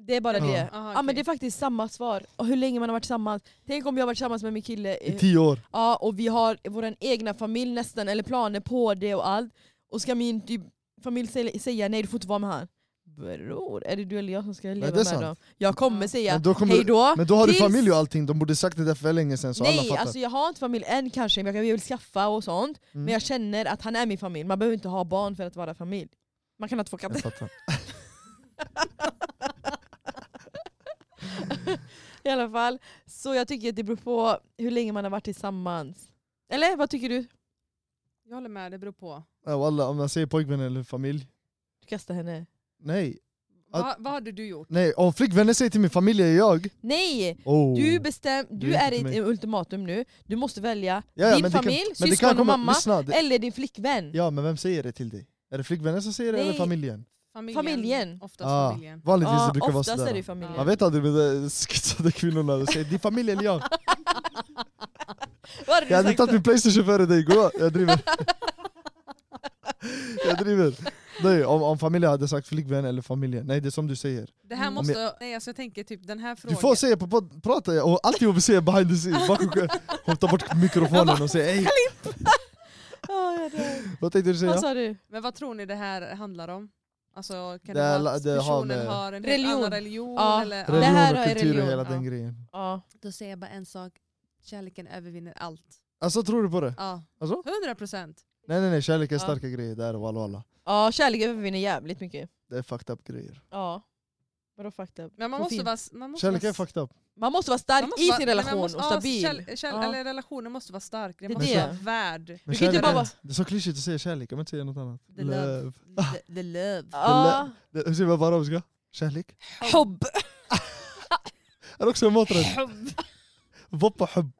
Det är bara
Ja.
det.
Aha,
Ja
okej.
men det är faktiskt samma svar. Och hur länge man har varit tillsammans. Tänk om jag har varit tillsammans med min kille
I
eh,
tio år.
ja, och vi har vår egna familj nästan, eller planer på det och allt. Och ska min typ, familj sä- säga nej du får inte vara med han. Bror, är det du eller jag som ska leva
det är
med
sant.
dem? Jag kommer säga
Men då kommer
hej då.
Men då har du
tills-
familj och allting, de borde sagt det där för länge sedan så alla
Nej,
fattar.
alltså jag har inte familj än kanske, men jag vill skaffa och sånt.
Mm.
Men jag känner att han är min familj, man behöver inte ha barn för att vara familj. Man kan ha två katter.
Jag fattar.
I alla fall. Så jag tycker att det beror på hur länge man har varit tillsammans. Eller vad tycker du?
Jag håller med, det beror på.
Ja, wallah, om man säger pojkvän eller familj,
Du kastar henne.
nej.
Va, vad hade du gjort?
nej. Om flickvännen säger till min familj är jag,
Nej!
oh.
Du, bestäm, du
Det är
är i
inte
ett ultimatum nu, du måste välja
Ja, ja,
din
men det kan-
familj,
men det
syskon
kan
och
komma,
mamma, Eh.
Lyssna, det,
eller din flickvän.
ja men vem säger det till dig? Är det flickvännen som säger det eller
Nej.
familjen?
Familjen.
Familjen.
Oftast
Ah,
familjen.
Vanligtvis
Ja,
det brukar vara
oftast är
sådär.
det ju familjen.
Man vet aldrig med de skitsade kvinnorna, de säger din familj eller jag.
Vad hade du
Jag hade
sagt
tagit
då?
min Playstation före dig, gå! Jag driver. jag driver. Nej, om, om familjen hade sagt flickvän eller familjen, nej det är som du säger.
Det här
Mm.
måste... Nej alltså jag tänker typ den här frågan.
Du får säga på podd, prata, och allt jag vill säga behind the scenes, bakom, hon tar bort mikrofonen och säger hej,
Alltså, Ja, ja, det är-
vad tänkte du
Vad
säga?
sa du?
Men vad tror ni det här handlar om? Alltså kan
Det
det, vara
la-
att
det har
personen
med-
har en
Religion.
helt annan religion?
Ja.
Eller,
Det här
Religion och
har jag
kultur och
religion,
hela
ja.
den grejen.
Ja.
Då säger jag bara en sak. Kärleken övervinner allt.
Alltså tror du på det?
Ja,
Alltså?
100 procent.
Nej nej nej, kärlek är
Ja.
starka grejer, det är det, walla walla.
ja, kärlek övervinner jävligt mycket.
Det är fucked up grejer.
Ja. Vadå fucked up?
Men man
Så
måste
fint.
vara... Man måste
Kärlek
vara,
är fucked up.
Man måste vara stark
Man måste
i
vara-
sin
nej, men
relation
måste-
och
ja,
stabil.
Käll, käll,
Ja.
Eller relationen måste vara stark, den
Det är
måste
det.
vara värd.
Men
Vi kan inte
kärlek-
bara vara-
Det är så klyschigt att säga kärlek, jag vill inte säga något annat.
The love. The, the love.
Ja.
Det- Hur säger man på arabska? Kärlek?
Hobb.
Är det också en maträtt? Voppa hubb.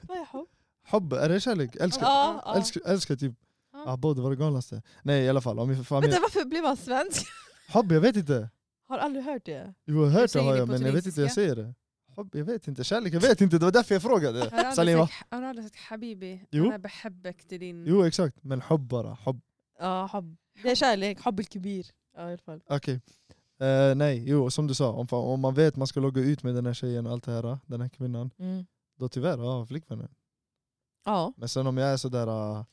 Vad är hobb?
Hubb, är det kärlek? Älskar,
Ja, ja.
älskar, älskar typ.
Ja.
Ah, både var det galnaste. Nej i alla fall, om vi för fan...
Vänta varför blev han svensk?
Hubb, jag vet inte.
Har aldrig hört det.
Jo jag har hört det
säger
har
det
jag
på
men jag vet inte hur jag
tunisiska.
säger det. Hopp, jag vet inte, kärlek, jag vet inte, det var därför jag
Har du
frågade.
aldrig
Salima.
sagt- Har du aldrig sagt habibi?
Jo.
Ana behabbek till din...
Jo exakt, men hopp bara. Hopp.
Ja, hobb. Det är kärlek, hobb el kubir. Ja, i alla fall.
Okej. Eh, nej, jo som du sa, om, fan- om man vet man ska logga ut med den här tjejen och allt det här, eh, den här kvinnan,
Mm.
då tyvärr, ja flickvännen.
Ja.
Men sen om jag är sådär, uh,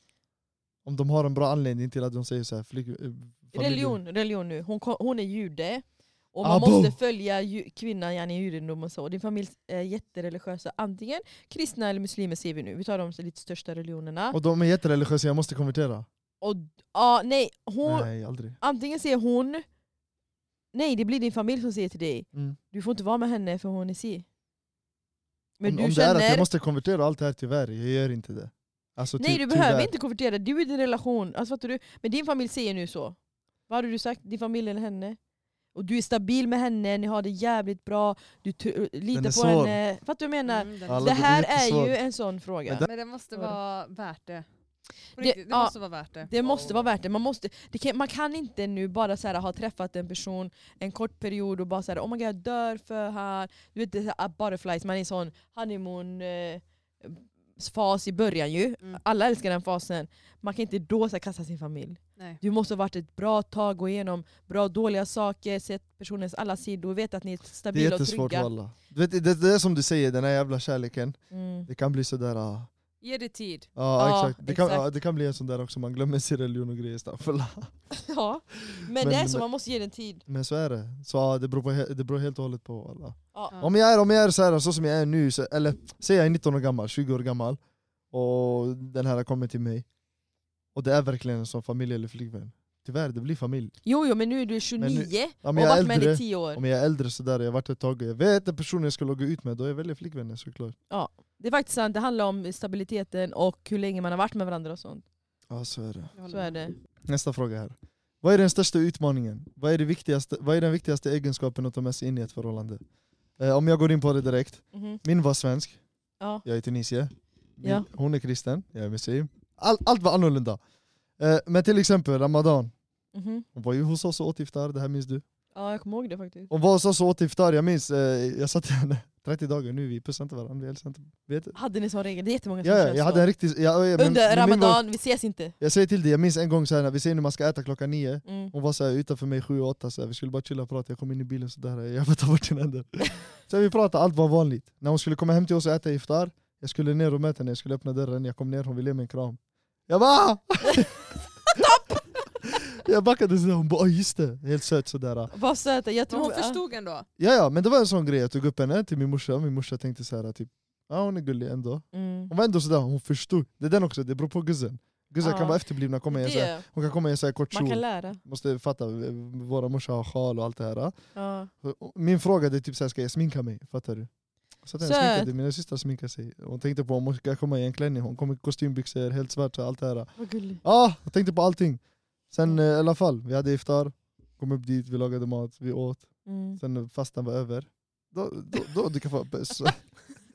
om de har en bra anledning till att de säger såhär, flick, eh, familj-
Religion, religion nu. Hon, ko- hon är jude. Och man
Abo.
måste följa ju, kvinnan gärna i judendom och så. Din familj är jättereligiösa. Antingen kristna eller muslimer ser vi nu. Vi tar de lite största religionerna.
Och de är jättereligiösa, jag måste konvertera.
Och, ja, nej, hon,
Nej aldrig.
antingen säger hon Nej det blir din familj som säger till dig
Mm.
Du får inte vara med henne för hon är si Men
om
du
om
känner
det är att jag måste konvertera och allt det här, tyvärr, jag gör inte det. Alltså,
Nej
ty-
du
tyvärr.
behöver inte konvertera, du är i din relation alltså, fattar du? Men din familj säger nu så Vad hade du sagt? Din familj eller henne? Och du är stabil med henne, ni har det jävligt bra Du tu-
Den
litar på
är svår.
henne Fattar du vad jag menar?
Mm, den-
Alla-
Det
den är
här är
jättesvår.
ju en sån fråga
Men den-
Men det måste
Så är det.
vara värt det. På
Det-
riktigt, Det
ja.
måste vara värt det.
Det måste vara värt det. Man, måste, det kan, man kan inte nu bara så här, ha träffat en person en kort period och bara säga oh my god jag dör för han. Du vet det är så här, butterflies, man är i en sån honeymoon eh, fas i början ju.
Mm.
Alla älskar den fasen. Man kan inte då så här, kasta sin familj.
Nej.
Du måste ha varit ett bra tag, gå igenom bra och dåliga saker, sett personens alla sidor, veta att ni är
Det är
stabila och
jättesvårt
trygga.
walla. Du vet, det, det är som du säger, den här jävla kärleken,
Mm.
det kan bli sådär... ah,
Ge det tid.
ja,
Ja,
exakt. Det, kan,
exakt.
ja, det kan bli en sån där också, man glömmer sin religion och grejer. staffelah.
Ja. Men,
Men-
det är så,
men-
man måste ge den tid.
Men så är det. Så ja, det beror, på, he- det beror helt och hållet på walla.
Ja.
Ja.
Om jag är, om jag är så, här, så som jag är nu, så, eller säg jag är 19 år gammal, 20 år gammal, och den här kommer till mig, och det är verkligen en sån familj eller flickvän. Tyvärr, det blir familj.
Jo, jo men nu är du 29
Om
och har
jag är
varit med henne i
äldre,
10 år.
om jag är äldre sådär, jag har varit ett tag, och jag vet den personen jag ska logga ut med, då jag väljer flickvännen såklart.
Det är faktiskt sant, det handlar om stabiliteten och hur länge man har varit med varandra och sånt.
Ja, så är det.
Jag håller
Så är
med.
det.
Nästa fråga här. Vad är den största utmaningen? Vad är, det viktigaste, vad är den viktigaste egenskapen att ta med sig in i ett förhållande? Eh, om jag går in på det direkt.
Mhm.
Min var svensk,
Ja.
jag är tunisier. Min,
Ja.
Hon är kristen, jag är muslim. All, allt var annorlunda. Eh, men till exempel Ramadan.
Mhm.
Hon var ju hos oss och åt iftar, det här minns du.
ja, jag kommer ihåg det faktiskt.
Hon var hos oss och åt iftar, jag minns. Eh, jag sa till henne, 30 dagar nu, vi pussar inte varandra. Vi hälsar inte, vet,
Hade ni sån regel? Det är jättemånga som
ja, ja,
kör
jag
så.
hade en riktig... Ja, ja, men-
Under
men min var-
ramadan, vi ses inte.
Jag säger till dig, jag minns en gång så här, när vi säger nu man ska äta klockan nio.
Mm.
Hon var såhär utanför mig sju, åtta, såhär, vi skulle bara chilla och prata, jag kom in i bilen sådär, jag får ta bort dina händer. Så vi pratade, allt var vanligt. När hon skulle komma hem till oss och äta iftar, jag skulle ner och möta henne, jag skulle öppna dörren, jag kom ner, hon ville ge mig en kram. Jag bara "Ah!" Jag backade sådär, hon bara "Oj, just det, helt söt sådär.
Vad söta, jag
Men
tror...
hon förstod ändå.
Ja ja, men det var en sån grej, jag tog upp henne till min morsa, min morsa tänkte såhär typ, ja hon är gullig ändå.
Mm.
Hon var ändå sådär, hon förstod. Det är den också, det beror på guzzen. Guzzar
Ja.
kan vara efterblivna, komma i en såhär,
Det,
hon kan komma i en såhär kort
man kan
kjol.
lära.
Måste fatta, eh, våra morsa har sjal och allt det här.
Ja.
Och Min fråga är typ såhär, ska jag sminka mig? Fattar du? Så att jag
Söt.
sminkade, mina systrar sminkade sig. Hon tänkte på om hon ska komma i en klänning, hon kommer i kostymbyxor, helt svart, så allt det här. Ja,
Vad gullig.
ah, jag tänkte på allting. Sen eh, i alla fall, vi hade iftar, kom upp dit, vi lagade mat, vi åt.
Mm.
Sen när fastan var över, då, då, då du kan få... så-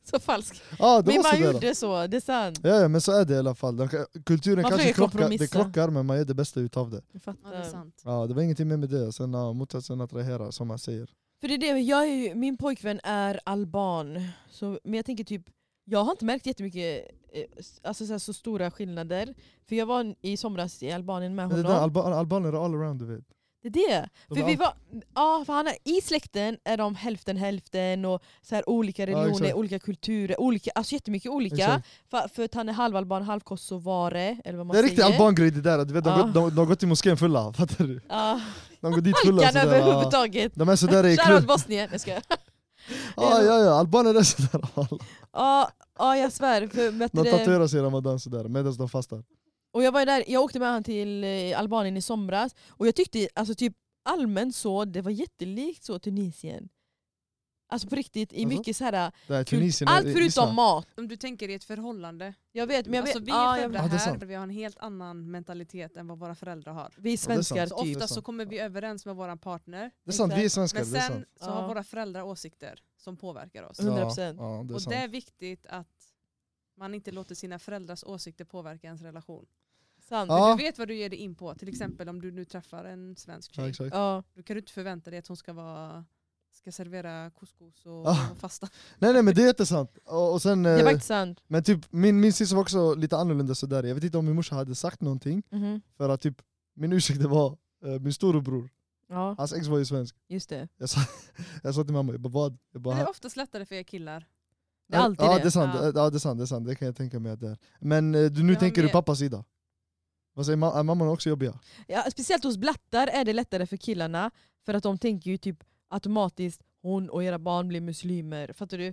Så falsk.
Ah, det
Men
var
man
sådär.
gjorde så, det är sant.
Ja, ja, men så är det i alla fall. Den kan- Kulturen
Man
kanske
försöker
krockar, det
kompromissa.
krockar, men man gör det bästa utav det.
Jag
Ja,
fattar.
det är sant.
Ja, det var ingenting mer med det. Sen ja, motsatsen attraherar, som man säger.
För det är det, jag är ju, min pojkvän är alban, så, men jag tänker typ jag har inte märkt jättemycket eh, s- alltså så, här, så stora skillnader. För jag var i somras i Albanien med
Men det
honom.
där, alba, albaner är all around, du vet.
Det är det.
De
För
är
vi
all-
var, ja, för han är, I släkten är de hälften hälften och så här, olika
Ja,
religioner,
exakt.
olika kulturer, olika, alltså jättemycket olika.
Exakt.
För, för att han är halvalban, halvkosovare eller vad man
det är
säger. Ah.
riktig albangrej det där, du vet, de,
Ja.
går- de, de har gått till moskén fulla, fattar du?
Ja,
De går dit fulla
Halkan
sådär. ja.
överhuvudtaget.
De är sådär i
Shoutout
klubb.
Bosnien, jag skojar.
Ah, ja, ja, albaner är sådär.
Ja, ja, jag svär. För, vet
De
du det-
tatuerar sig i ramadan sådär, medan de fastar.
Och jag, var ju där, jag åkte med han till eh, Albanien i somras och jag tyckte alltså, typ allmänt så, det var jättelikt så Tunisien. Alltså på riktigt, i
Alltså?
mycket så här,
Det är
kul-
Tunisien,
allt
eh,
förutom
lyssna.
mat.
Om du tänker i ett förhållande.
Jag vet, men jag vet,
alltså, vi
ja,
är
jag
födda
Ja,
vet.
det är
här,
sant.
och vi har en helt annan mentalitet än vad våra föräldrar har.
det
vi är
är sant.
svenskar
Så
Typ.
ofta så kommer vi överens med vår partner,
Det är sant, vi är
Exakt.
svenskar.
men
Det är
sen
sant.
så
Ja.
har våra föräldrar åsikter som påverkar oss.
Mm. 100%.
Ja, ja, det är
och
sant.
det är viktigt att man inte låter sina föräldrars åsikter påverka ens relation.
sant.
Ja.
Du vet vad du ger dig in på, till exempel om du nu träffar en svensk
Ja,
tjej.
exakt.
Ja.
Då kan du inte förvänta dig att hon ska, vara, ska servera couscous och,
Ah.
och fasta.
Nej nej men det är jättesant. Och, och sen,
Det är
eh,
faktiskt sant.
men typ, min, min syster var också lite annorlunda sådär. Jag vet inte om min morsa hade sagt någonting,
Mhm.
för att typ, min ursäkt det var eh, min storebror,
Ja,
hans ex var ju svensk.
just det.
Jag sa, jag sa till mamma, jag bara vad? Jag bara,
Men det är oftast lättare för er killar.
Det är alltid
ja,
det.
det. Är sant,
Ja.
ja. det är sant, det är sant, det kan jag tänka mig att det är. Men eh, du, nu
Jag har
tänker du
med-
pappas sida? Vad säger mamma? Är mamman också jobbiga?
Ja, speciellt hos blattar är det lättare för killarna, för att de tänker ju typ automatiskt hon och era barn blir muslimer. Fattar du?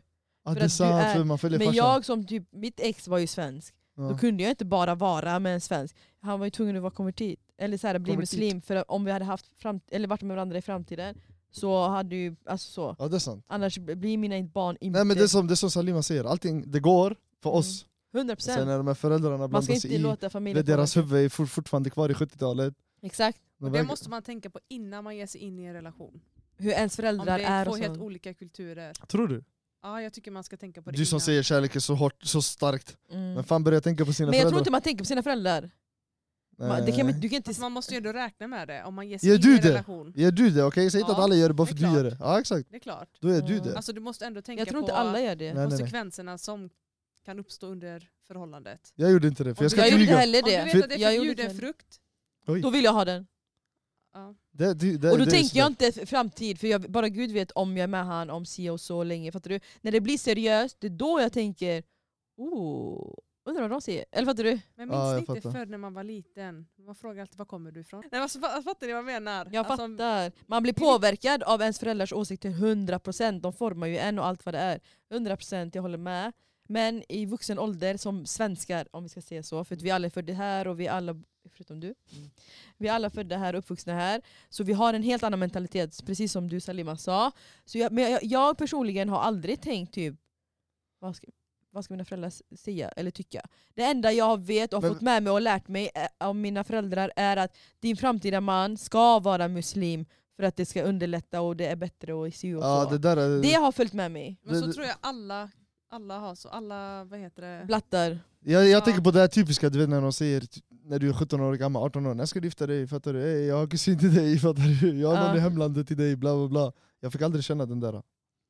Ah, det
att
är
du
sant,
är-
för man följer
Men
farsan.
jag som typ, mitt ex var ju svensk, då
ja.
kunde jag inte bara vara med en svensk. Han var ju tvungen att vara konvertit, eller så här, bli
Konvertit.
muslim, för att om vi hade haft fram, eller varit med varandra i framtiden så hade ju, alltså så.
ja det är sant.
Annars blir mina barn inte
Nej men det är som, det är som Salima säger, allting det går för
Mm.
oss.
100%.
Sen när de här föräldrarna
Man ska
blandar
inte
sig i,
låta
det,
familjen
deras
påverka.
huvud är for, fortfarande kvar i 70-talet.
Exakt.
De
Det
väg-
måste man tänka på innan man ger sig in i en relation.
Hur ens
Om
föräldrar
det är
är
två
och
helt
sånt.
olika kulturer.
Tror du?
Ja, jag tycker man ska tänka på det
Du som
innan.
säger kärlek är så hårt, så starkt.
Mm.
Men fan börjar tänka på sina
Men jag tror
föräldrar.
inte man tänker på sina föräldrar. Man, det kan, man-
Nej.
du kan inte...
Fast man måste ju ändå räkna med det om man ger sig
Gör
in
du
i en
det?
relation.
Gör du det, okej? Säg inte
Ja,
att alla gör det bara
det
för
är
att du gör
klart.
det. Ja exakt,
Det är klart.
då gör du
Mm.
det.
Alltså du måste ändå tänka
Jag tror inte
på
alla gör det.
Nej, nej, nej.
konsekvenserna som kan uppstå under förhållandet.
Jag gjorde inte det, för
Om
jag
du-
ska
Jag
inte
gjorde inte
ljuga.
heller
Om du
det.
vet att det
Jag
är
gjorde
förbjuden
inte-
frukt,
Då vill jag ha den.
ja.
Det, det, det,
Och då
det är
tänker jag
sådär.
inte f- framtid, för jag, bara gud vet om jag är med han om si och så länge. Fattar du? När det blir seriöst, det är då jag tänker oh, undrar vad de säger. Eller fattar du?
Men
Ja,
minns
jag
ni inte
fattar.
förr när man var liten? Man frågade alltid var kommer du ifrån? Nej, alltså, fa- fattar ni vad jag menar?
Jag
Alltså,
fattar. Man blir påverkad av ens föräldrars åsikter 100%. De formar ju en och allt vad det är. 100% jag håller med. Men i vuxen ålder, som svenskar om vi ska säga så, för att vi alla är födda här och vi alla, förutom du,
Mm.
vi är alla födda här och uppvuxna här. Så vi har en helt annan mentalitet, precis som du Salima sa. Så jag, men jag, jag personligen har aldrig tänkt typ, vad ska, vad ska mina föräldrar s- säga eller tycka? Det enda jag vet och har
Men-
fått med mig och lärt mig ä- av mina föräldrar är att din framtida man ska vara muslim för att det ska underlätta och det är bättre och si och så.
Ja det
det,
där är...
har följt med mig.
Men
Det-
så tror jag alla, alla har så. Alla, vad heter det?
Blattar.
Jag, jag
Ja.
tänker på det här typiska, du vet när de säger typ, när du är 17 år gammal, 18 år, när ska du gifta dig? Fattar du? Ey, jag har kusin till dig, fattar du? Jag har någon
Ja.
i hemlandet till dig, bla bla bla. Jag fick aldrig känna den där.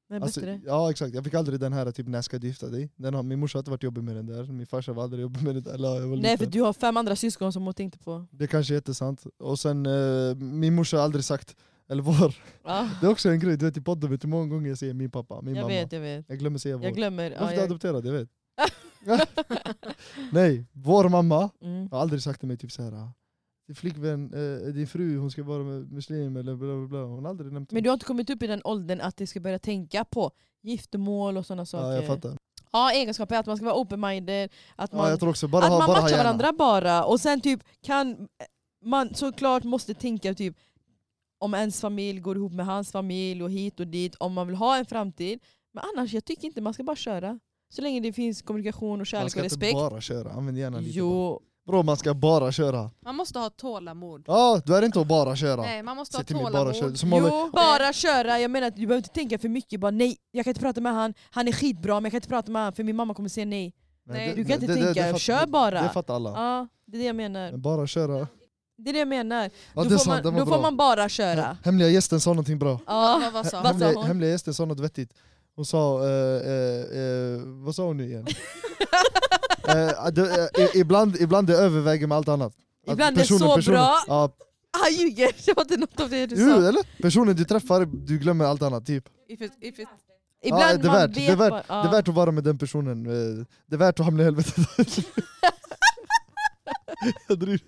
Men
Alltså,
bättre.
ja exakt, jag fick aldrig den här typ när ska du gifta dig? Den har, min morsa har alltid varit jobbig med den där, min farsa var aldrig jobbig med den där. Eller, jag var
Nej för
liten.
du har fem andra syskon som hon tänkte på.
Det kanske är jättesant. Och sen, eh, min morsa har aldrig sagt, eller vår.
Ja,
Det är också en grej, du vet i podden vet du hur många gånger jag säger min pappa, min
Ah, jag
mamma.
vet, jag vet.
Jag glömmer säga vår.
Jag glömmer.
Varför
Ja,
är du
jag,
adopterad? Jag vet. Nej, vår mamma
mm.
Jag har aldrig sagt till mig typ såhär ah, din flickvän, eh, din fru, hon ska vara med- muslim eller bla bla bla. Hon har aldrig nämnt
Men du har inte kommit upp i den åldern att du ska börja tänka på giftermål och sådana saker.
Ja jag fattar.
Ja, egenskaper är att man ska vara open-minded, att man,
Ja, jag tror också, bara
att
ha,
man
bara ha
matchar
hjärna.
varandra bara. Och sen typ kan man såklart måste tänka typ om ens familj går ihop med hans familj och hit och dit, om man vill ha en framtid. Men annars, jag tycker inte man ska bara köra. Så länge det finns kommunikation och
Man
kärlek
ska
och
inte
respekt.
bara köra, använd hjärnan lite. bara.
Jo,
Bro man ska bara köra.
Man måste ha tålamod.
Ja, du är inte att bara köra.
Nej, man måste
Säg
ha
till mig bara köra.
tålamod.
Som håller,
Jo, bara köra. Jag menar att du behöver inte tänka för mycket. Bara nej, jag kan inte prata med han. Han är skitbra men jag kan inte prata med han för min mamma kommer säga nej.
Nej,
Du kan inte tänka,
fattar-
kör bara.
Det fattar alla.
Ja, det är det jag menar.
Men bara köra.
Det är det jag menar.
Ja,
då
det är
får,
sant,
man,
den var
då
bra.
får man bara köra.
Hemliga gästen sa någonting bra.
Ja.
Vad, vad sa
Vad sa
Hemliga,
hon?
hemliga gästen sa något vettigt. Hon sa, eh, eh, eh, vad sa hon nu igen? Eh, det, eh, i- ibland, ibland det överväger med allt annat. Att
Ibland är det så bra.
Ja,
Han Ah, ljuger! Det var inte något av det du
jo,
sa.
eller? Personen du träffar, du glömmer allt annat. Typ.
If it, if it,
Ja,
Ibland
det är
man
värt-
vet
det är värt-
vad- ja.
Det är värt att vara med den personen. eh, Det är värt att hamna i helvetet. Jag driver.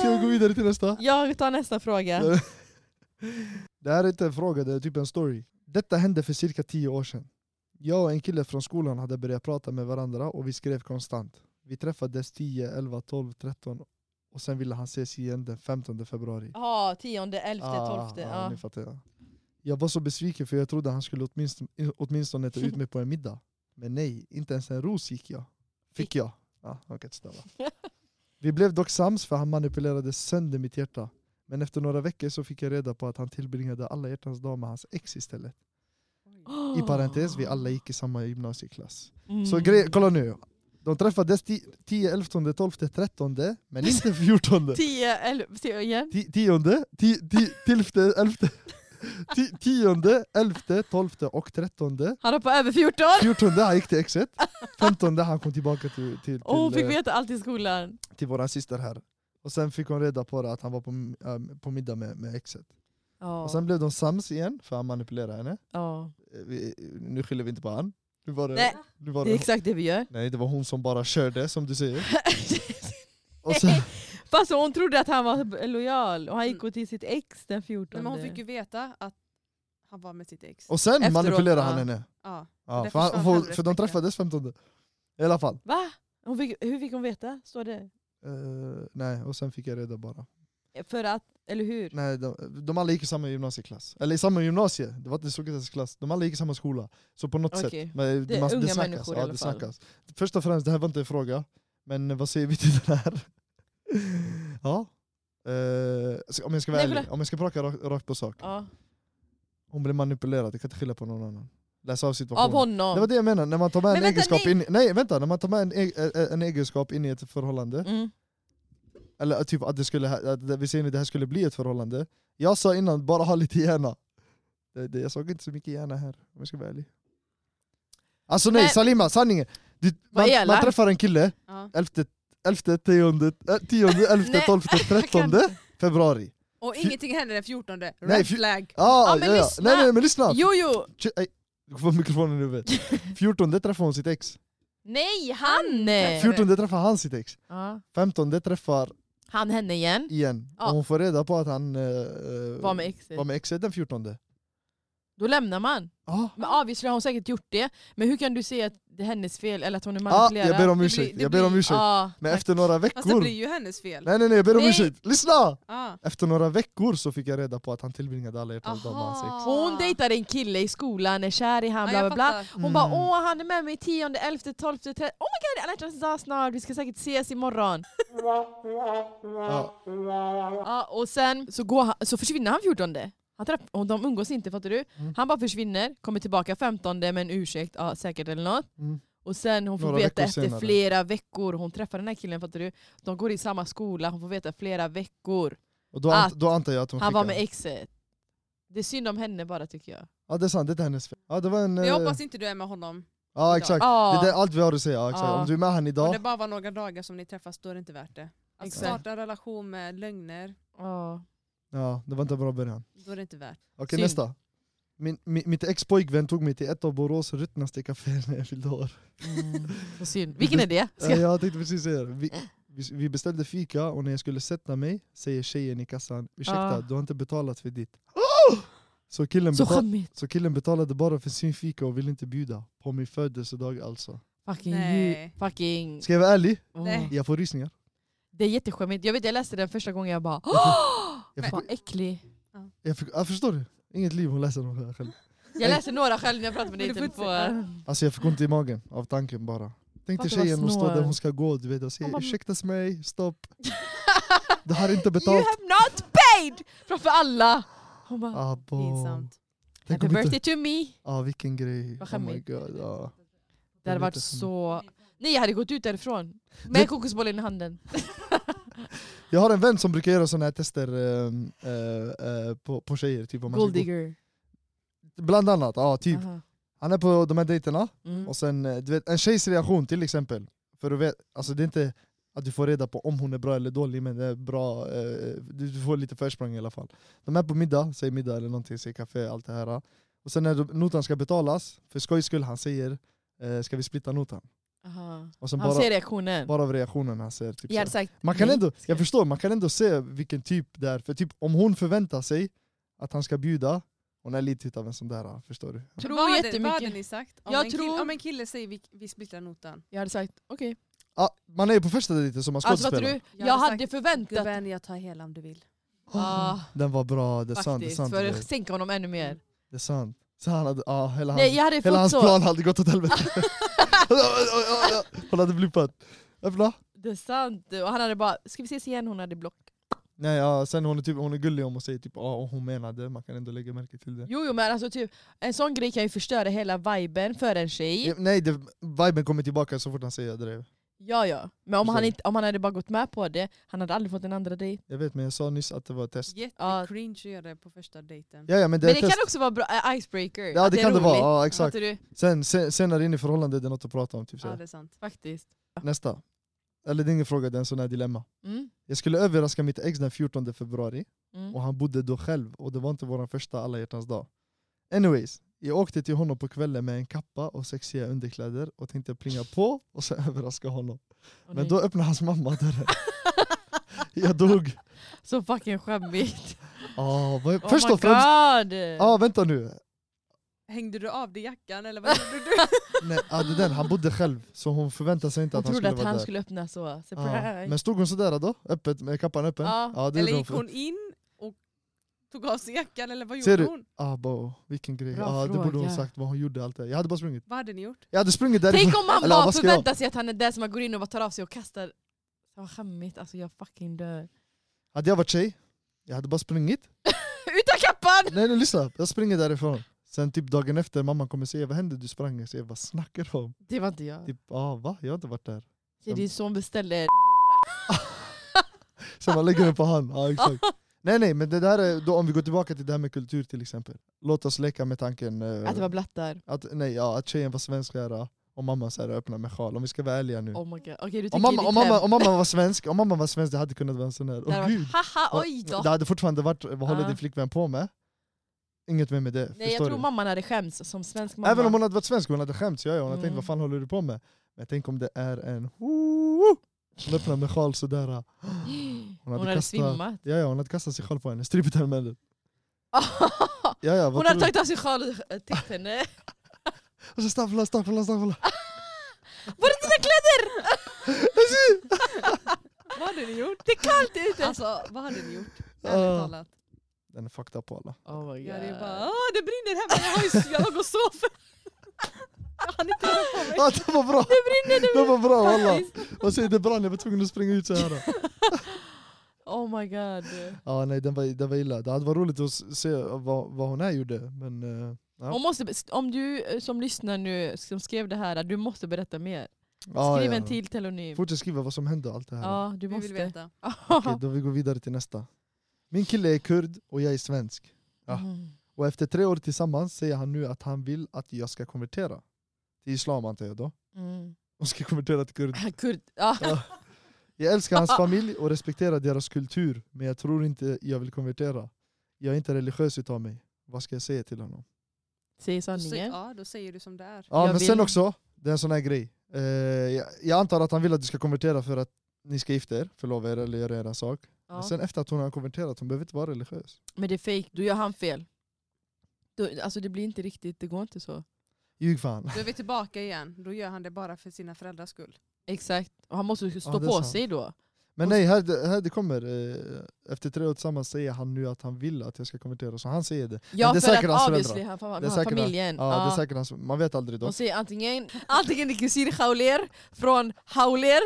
Ska vi gå vidare till nästa?
Jag tar nästa fråga.
Det här är inte en fråga, det är typ en story. Detta hände för cirka tio år sedan. Jag och en kille från skolan hade börjat prata med varandra och vi skrev konstant. Vi träffades 10, 11, 12, 13 och sen ville han ses igen den 15 februari.
Ja, tionde, elfte,
Ah,
tolfte.
ah,
Ja.
nu fattar jag. Jag var så besviken för jag trodde han skulle åtminstone, åtminstone ta ut mig på en middag. Men nej, inte ens en ros gick jag. Fick jag. Ja, han kan inte stava. Vi blev dock sams för han manipulerade sönder mitt hjärta. Men efter några veckor så fick jag reda på att han tillbringade alla hjärtans dag med hans ex istället. I parentes, vi alla gick i samma gymnasieklass.
Mm.
Så grej, kolla nu. De träffades ti- 10, 11, 12, 13 men inte 14.
10, 11, se igen.
Ti- Tionde, ti, ti, tillfte, elfte, ti, tionde, elfte, tolfte och trettonde.
Han hoppade över 14!
Fjortonde han gick till exet. Femtonde han kom tillbaka till, till, till,
Och hon fick
eh,
veta allt i skolan.
till våran syster här. Och sen fick hon reda på det, att han var på, eh, på middag med, med exet.
Ja.
Och sen blev de sams igen för han manipulerade henne.
ja.
Eh, Vi, nu skyller vi inte på han. Nu var det,
Nej,
nu var
Det är
det,
exakt det vi gör.
nej, det var hon som bara körde som du säger. Och sen, Mm.
Fast hon trodde att han var lojal och han gick till sitt ex den 14.
Nej, men hon fick ju veta att han var med sitt ex.
och sen
Efteråt,
manipulerade
ja.
han henne.
Ja.
Ja,
Där
för, han,
försvann
för,
hennes
för de
vecka.
träffades femtonde. I alla fall.
Va? Hon fick, hur fick hon veta? Står det?
Eh, nej, och sen fick jag reda bara.
För att, eller hur?
Nej, de, de alla gick i samma gymnasieklass. Eller i samma gymnasie, det var inte skolklass. De alla gick i samma skola. Så på något
Okej.
sätt. Men,
Det är unga människor i
ja,
alla
det
fall.
snackas. Först och främst, det här var inte en fråga. Men vad säger vi till den här? ja. Eh, så om jag ska vara
Nej,
ärlig,
kolla.
om jag ska prata rakt, rakt på sak.
Ja.
Hon blev manipulerad, jag kan inte skylla på någon annan. Läs av situationen.
Av honom.
Det var det jag menar, när man tar med
Men
en
vänta,
egenskap
nej.
in, nej vänta, när man tar med en, e- eh, en egenskap in i ett förhållande
mm.
Eller typ att det skulle, att det- vi säger nu det här skulle bli ett förhållande. Jag sa innan, bara ha lite hjärna. Det, det, jag såg inte så mycket hjärna här, om jag ska vara ärlig. Alltså nej,
Men-
Salima, sanningen! Du, man,
elak.
man träffar en kille,
Ja.
11, 11 10, 10, 11,
Nej,
12, 13 februari.
Och ingenting hände den 14. Red
Nej, fy-
flag.
Ah,
Ja, men
ja, ja.
lyssna.
Nej, nej men lyssna!
Jo jo!
Tj- ej, Du får mikrofonen i huvudet. 14 träffar hon sitt ex.
Nej han!
14 träffar han sitt ex.
Ja.
15 träffar
Han henne igen.
igen.
Ja.
Och hon får reda på att han eh, eh,
Var med exet.
var med exet den 14.
Då lämnar man.
Ah.
Men ja, visst, har hon säkert gjort det. Men hur kan du säga att det är hennes fel eller att hon är
Ja,
manipulerad?
jag ber om
blir-
ursäkt,
det
jag ber om
blir-
ursäkt.
Ja,
Men
tack.
efter några
Fast det
veckor...
blir ju hennes fel. Ah.
Nej nej nej, jag ber om
Nej.
ursäkt. Lyssna!
Ja.
Efter några veckor så fick jag reda på att han tillbringade alla hjärtans dag med hans
Aha.
ex.
Och Hon dejtade en kille i skolan, är kär i han,
Ja,
bla
jag
bla bla.
fattar.
Hon
Mm.
bara åh han är med mig 10, 11, 12, 13, oh my god alla hjärtans dag snart, vi ska säkert ses imorgon.
Ja.
Ja, och sen så, går han, så försvinner han 14. Han träff, och de umgås inte fattar du?
Mm.
Han bara försvinner, kommer tillbaka 15 med en ursäkt, ja, säkert eller något.
Mm.
Och sen hon får
Några
veta
veckor
efter
senare.
flera veckor, hon träffar den här killen fattar du? De går i samma skola, hon får veta flera veckor.
Och då, ant-
Att
då antar jag att hon
Han
fick
var
en-
med exet. Det är synd om henne bara tycker jag.
Ja det är sant, det är inte hennes fel. Ja det var en...
Men
eh,
Jag hoppas inte du är med honom.
Ja exakt,
Ja.
det är allt vi har att säga. Ja, exakt.
Ja.
Om du är med han
Om det
idag,
bara var några dagar som ni träffas då är det inte värt det. Att
Exakt.
starta en relation med lögner,
Ja.
ja det var inte en bra början.
då är det inte värt.
Okej
Synd.
nästa. Min, min, mitt ex pojkvän tog mig till ett av Borås ruttnaste kaféer när jag fyllde år.
Mm.
Så synd. Vilken är det? Ska
Eh, Ja, jag tänkte precis säga det. Vi, vi, vi beställde fika och när jag skulle sätta mig säger tjejen i kassan ursäkta
Ah. Oh!
du har inte betalat för ditt. Så killen,
Så
betal-
skämmigt.
så killen betalade bara för sin fika och ville inte bjuda. På min födelsedag alltså.
Fucking
Nej.
ju- Fucking...
Ska jag vara ärlig?
Åh.
Nej.
Jag får rysningar.
Det är jätteskämmigt. Jag vet jag läste den första gången jag bara
Jag,
Fan
fick,
äcklig.
jag, fick, jag förstår det. Inget liv hon läser om det här själv.
Jag läste några själv när jag pratade med dig i
Men du får
telefon.
Alltså jag fick ont i magen av tanken bara. Tänk dig
Fattar vad
tjejen hon står
snål.
där hon ska gå du vet, och
Hon
säger
bara-
ursäktas mig, stopp. Det här är inte
You
betalt.
have not paid! Framför alla. Hon bara
Abo.
Pinsamt.
Ah, Tänk
Happy
om inte-
birthday to me.
Ja vilken grej.
Vad
Oh my
skämmigt.
god. Ja.
Det hade varit
lite som-
så... Nej jag hade gått ut därifrån. Med
Det-
en kokosbollen i handen.
Jag har en vän som brukar göra såna här tester ehm, eh, eh, på, på tjejer. Typ, om man ska
Gold
gå-
digger.
Bland annat, ja typ.
Aha.
Han är på de här dejterna,
Mm.
och sen eh, du vet, en tjejs reaktion till exempel. För du vet, alltså det är inte att du får reda på om hon är bra eller dålig, men det är bra, eh, du du får lite försprång i alla fall. De är på middag, säger middag eller någonting, säger kaffe, allt det här. Och sen när du- notan ska betalas, för skojs skull, han säger eh, ska vi splitta notan?
Aha.
Och sen
Han
bara,
ser reaktionen.
bara av reaktionen han ser. Typ
Jag
så.
hade sagt
Man kan
nej.
ändå, jag förstår, man kan ändå se vilken typ det är. För typ, om hon förväntar sig att han ska bjuda, hon är lite utav en sån där, förstår du?
Tror
vad hade- Vad
jättemycket.
hade ni sagt? Om,
Jag
en,
tror-
kille, om en kille säger vi, vi splittar notan.
Jag hade sagt okej.
Ah, man är ju på första dejten som man
Alltså fattar
skådespelar.
du?
Jag
Jag
hade
hade
sagt,
förväntat
Gubben jag tar hela om du vill.
Ah,
Den var bra, det är sant. Det är
faktiskt.
sant
För
det.
att sänka honom ännu mer.
Det är sant. Så han hade, ja, hela hans,
Nej, jag hade
hela
fått
hans
så...
plan hade gått åt helvete. Hon hade blippat. Öppna.
Det är sant. Och han hade bara, ska vi ses igen? Hon hade block.
Nej, ja, sen hon är, typ, hon är gullig om hon säger typ ja, och hon menade, man kan ändå lägga märke till det.
Jo, jo men alltså typ, en sån grej kan ju förstöra hela viben för en tjej.
Ja, Nej, det, viben kommer tillbaka så fort han säger drev.
Ja, ja. Men om
Förstår
han,
du?
inte, om han hade bara gått med på det, han hade aldrig fått en andra dejt.
Jag vet men jag sa nyss att det var ett test.
Jättecringe att göra det på första dejten.
Ja, ja men det är
Men
ett
det
test.
kan också vara bra, äh, icebreaker.
Ja det,
att är
kan det vara,
roligt. typ.
ja, exakt.
Fattar du?
Sen, sen, senare in i förhållandet är det något att prata om. Typ, så.
Ja,
här.
det är sant.
Faktiskt.
Nästa. Eller det är ingen fråga, det är en sån här dilemma.
Mm.
Jag skulle överraska mitt ex den 14 februari
Mm.
och han bodde då själv och det var inte vår första alla hjärtans dag. Anyways, jag åkte till honom på kvällen med en kappa och sexiga underkläder och tänkte plinga på och så överraska honom.
Åh,
Men
nej.
då öppnade hans mamma dörren. Jag dog.
Så fucking skämmigt.
Ah, vad,
Oh
först
my
och främst,
god!
ah, vänta nu.
Hängde du av dig jackan eller vad gjorde du?
Nej, ah, det är den, han bodde själv så hon förväntade sig inte
Hon
att han
trodde
skulle
att
vara
han
där.
skulle öppna så.
Ja.
Surprise!
Men stod hon sådär då? Öppet, med kappan öppen?
Ja.
det
Eller
gjorde
gick
för-
hon in och tog av sig jackan eller vad
Ser
gjorde
du?
hon?
Ah, bo, vilken grej.
Bra
Ah, det borde hon
fråga.
sagt, vad hon gjorde allt det. Jag hade bara sprungit.
Vad hade ni gjort?
Jag hade sprungit därifrån.
Tänk om man
Eller,
bara
vad ska jag?
förväntar sig att han är den som man går in och bara tar av sig och kastar. Vad skämmigt, alltså jag fucking dör.
Hade jag varit tjej, jag hade bara sprungit.
Utan kappan!
Nej nej lyssna, jag springer därifrån. Sen typ dagen efter, mamman kommer säga vad hände du sprang? Jag säger vad snackar du om?
Det var inte jag.
Typ ah, va? Jag har inte varit där.
Det är din son beställde
Sen man lägger den på han. Ja, exakt. Nej nej men det där är, då, om vi går tillbaka till det här med kultur till exempel. Låt oss leka med tanken eh,
att det var blattar.
att, nej, ja, att tjejen var svensklära och mamma så här, öppna med sjal. Om vi ska vara ärliga nu.
Oh my god. Okej du
Om
tänker
mamma,
i
om,
ditt
mamma,
hem.
om mamma var svensk, om mamma var svensk det hade kunnat vara en sån här.
Det hade
Åh
varit,
gud.
Haha oj då!
Det hade fortfarande varit vad håller
Ja.
din flickvän på med? Inget mer med det.
Nej jag
förstår
tror
du?
mamman hade skämts som svensk mamma.
Även om hon hade varit svensk, hon hade skämts. Ja, ja. Hon hade tänkt
Mm.
vad fan håller du på med? Men tänk om det är en hoo Hon öppnar med sjal sådär. Hon
hon hade, svimmat.
Ja, ja, hon hade kastat sin sjal på henne. Strypt henne med den. Ja, ja, vad
hon
tror
hade
du?
tagit av sig sjal och äh, täckt henne.
Och så staffla, staffla, staffla.
Var är dina kläder?
Vad hade ni gjort?
Det är kallt ute!
Alltså vad hade ni gjort?
Ah.
Ärligt talat.
Den är fucked up alla.
Oh my
Jag hade ju
god.
bara åh det brinner här men jag har ju jag låg och sov. Jag hann inte röra på mig.
Ah, det var bra! Det brinner nu! Det var bra alla. Och så det brann, jag var tvungen att springa ut så här.
Oh my god.
Ja, nej, den var, den var illa. Det hade varit roligt att se vad, vad hon här gjorde, men... eh, ja.
Hon måste, om du eh, som lyssnar nu, som skrev det här, du måste berätta mer.
Ah,
Skriv
ja.
en till telonym.
Fortsätt skriva vad som hände och allt det här.
Ja, du
Vi vill
måste.
veta.
Okej, då vi går vidare till nästa. Min kille är kurd och jag är svensk. ja.
Mm.
Och efter tre år tillsammans säger han nu att han vill att jag ska konvertera. Till islam antar jag då.
Mm.
Hon ska konvertera till kurd.
Kurd. Ja.
Jag älskar hans familj och respekterar deras kultur. Men jag tror inte jag vill konvertera. Jag är inte religiös utav mig. Vad ska jag säga till honom?
Säg
Då säger,
sanningen.
ja då säger du som det är.
Ja
Jag
men sen
vill-
också, det är en sån här grej. Eh, jag, jag antar att han vill att du ska konvertera för att ni ska gifta er, förlova er eller göra er sak. Men
Ja.
sen efter att hon har konverterat, hon behöver inte vara religiös.
Men det är fake, då gör han fel. Då, alltså det blir inte riktigt, det går inte så.
Ljug fan.
Då är vi tillbaka igen. Då gör han det bara för sina föräldrars skull.
Exakt, och han måste ju stå
Ja, det är
på
sant.
sig då.
Men
Och-
nej, här, här det kommer. eh, Efter tre år tillsammans säger han nu att han vill att jag ska konvertera, så han säger det.
Ja
det är
för
säkert
att
hans
obviously,
föräldrar.
han,
Det är
han,
säkert han-
familjen.
Ja,
ja.
det är säkert hans, man vet aldrig då.
De säger antingen, antingen är kusin Hauler från Hauler,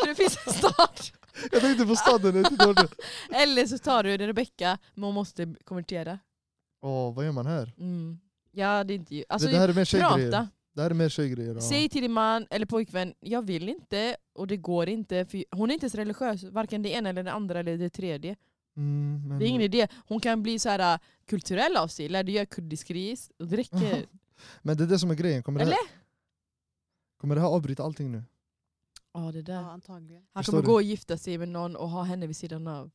för det finns en stad.
Jag tänkte på staden, jag tittade på det.
Eller så tar du Rebecka, men hon måste konvertera.
Åh, vad gör man här?
Mm. Ja, det är inte ju. Alltså,
det, det här är mer tjejgrejer.
prata.
Det här är mer tjejgrejer. ja.
Säg till din man eller pojkvän, jag vill inte och det går inte. För hon är inte ens religiös, varken det ena eller det andra eller det tredje.
Mm, men,
Det är ingen idé. Hon kan bli så här äh, kulturell av sig, lär dig göra kurdisk ris och det räcker.
men det är det som är grejen. Kommer det, här,
eller?
kommer det här avbryta allting nu?
Ja, det
Ja
där.
antagligen.
Han
Förstår
kommer
du?
gå och gifta sig med någon och ha henne vid sidan av.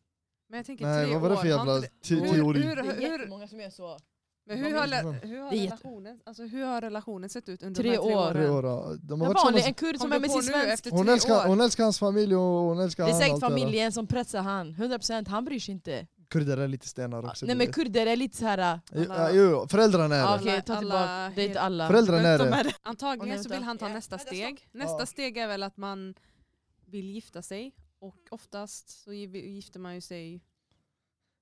Men jag tänker
Nej,
tre
vad var det
år,
för
har
jävla
inte det-
te-
hur,
teori?
hur,
Det är
hur,
jättemånga som gör så.
men
De
hur,
är
har,
inte
le-
bra.
hur, har
Det är jätte-
relationen, alltså, hur har relationen sett ut under
Tre
de här tre
år.
åren?
Tre år, ja. de har
En
varit
vanlig, en
tillsammans.
kurd
Kom
som
du
är med
på
sin
nu
svensk.
efter
Hon
tre
älskar,
år?
hon älskar hans familj och hon älskar
Det är
han.
säkert
allt där.
familjen som pressar han, 100% han bryr sig inte.
Kurder är lite stenar också.
Nej
du
men
vet.
kurder är lite så här.
Ja, jo, jo, föräldrarna är
Ja,
det.
Okej, ta
Alla-
tillbaka.
alla
Det är inte alla.
Föräldrarna är
De
det.
är-
Och nu
Antagligen så
vänta.
vill han ta
Ja,
nästa
vänta,
steg. Nästa
Ja.
steg är väl att man vill gifta sig och oftast så gi- gifter man ju sig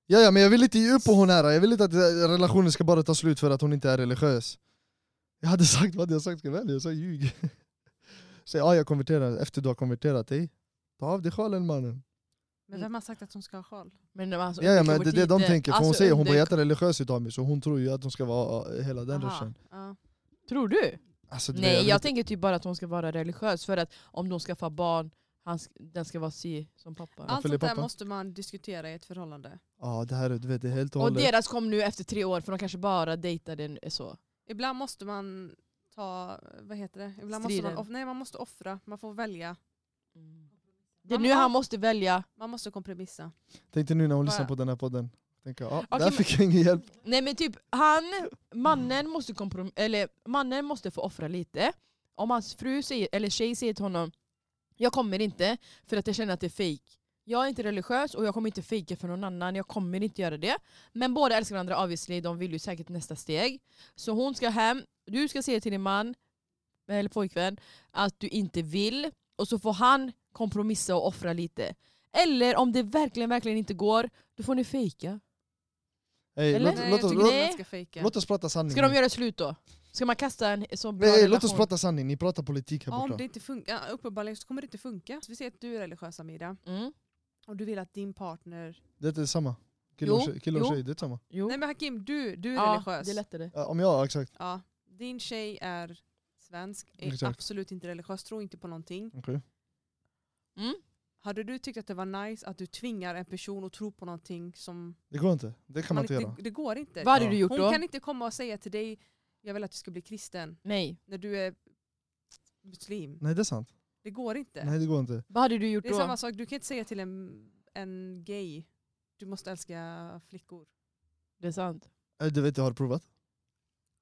Ja, ja, men jag vill inte ge upp på hon här. Jag vill inte att eh, relationen ska bara ta slut för att hon inte är religiös. Jag hade sagt vad hade jag sagt ska välja, jag sa ljug. Säg ja, jag konverterar efter du har konverterat dig. Ta av dig sjalen mannen.
Men
Mm.
vem har sagt att hon ska ha sjal?
Men, alltså,
Ja, ja,
under
men det är det de
konvertiter-
tänker. För hon
alltså,
säger hon
under-
var jättereligiös utav mig, så hon tror ju att hon ska vara eh, hela den
Aha,
ruschen.
ja.
Tror du?
Alltså, du vet,
Nej
vill
jag
inte-
tänker typ bara att hon ska vara religiös för att om de skaffar barn, han, sk- den ska vara si som pappa.
Ja,
Allt
följer
sånt där
pappa.
måste man diskutera i ett förhållande.
Ja, det här är- du vet, det är helt och
och
hållet.
deras kom nu efter tre år för de kanske bara dejtade en- så.
Ibland måste man ta, vad heter det? Ibland måste man,
Striden.
off- nej, man måste offra, man får välja,
Det är nu han måste välja.
man måste kompromissa.
Tänk dig nu när hon lyssnar
Bara-
på den här podden. Tänker, ja,
Okej,
där
men-
fick jag ingen hjälp.
Nej men typ han, mannen måste, komprom- eller, mannen måste få offra lite. Om hans fru säger, eller tjej säger till honom jag kommer inte för att jag känner att det är fake. Jag är inte religiös och jag kommer inte fejka för någon annan, jag kommer inte göra det. Men båda älskar varandra obviously, de vill ju säkert nästa steg. Så hon ska hem, du ska säga till din man, eller pojkvän, att du inte vill. Och så får han kompromissa och offra lite. Eller om det verkligen, verkligen inte går, då får ni fejka.
Hey,
Eller?
låt,
Nej,
låt,
jag
oss-
tycker
låt,
inte man ska fejka.
låt oss prata sanning.
Ska de göra slut då? Ska man kasta en så bra
Mm. Nej, hey,
relation?
låt oss prata sanning, ni pratar politik här
Ja, om
borta.
det inte funkar, ja, uppenbarligen så kommer det inte funka. Så vi säger att du är religiös Amira,
Mm.
och du vill att din partner...
Det är inte samma. Kille och
Jo,
tjej, kille och
jo.
tjej det är samma.
Jo.
Nej men Hakim, du, du är
ja,
religiös.
det är lättare.
Ja, om jag, exakt.
Ja, din tjej är svensk, är
Exakt.
absolut inte religiös, tror inte på någonting.
Okej.
Mm.
Hade du tyckt att det var nice att du tvingar en person att tro på någonting som...
Det går inte. Det kan man inte göra.
det, det går inte.
Vad hade
Ja.
du gjort
Hon
då?
kan inte komma och säga till dig, jag vill att du ska bli kristen,
Nej.
när du är muslim.
Nej det är sant.
Det går inte.
Nej det går inte.
Vad hade du gjort
Det är
då?
samma sak, du kan inte säga till en, en gay, du måste älska flickor.
Det är sant.
Eh, Du vet jag har provat.
Nej,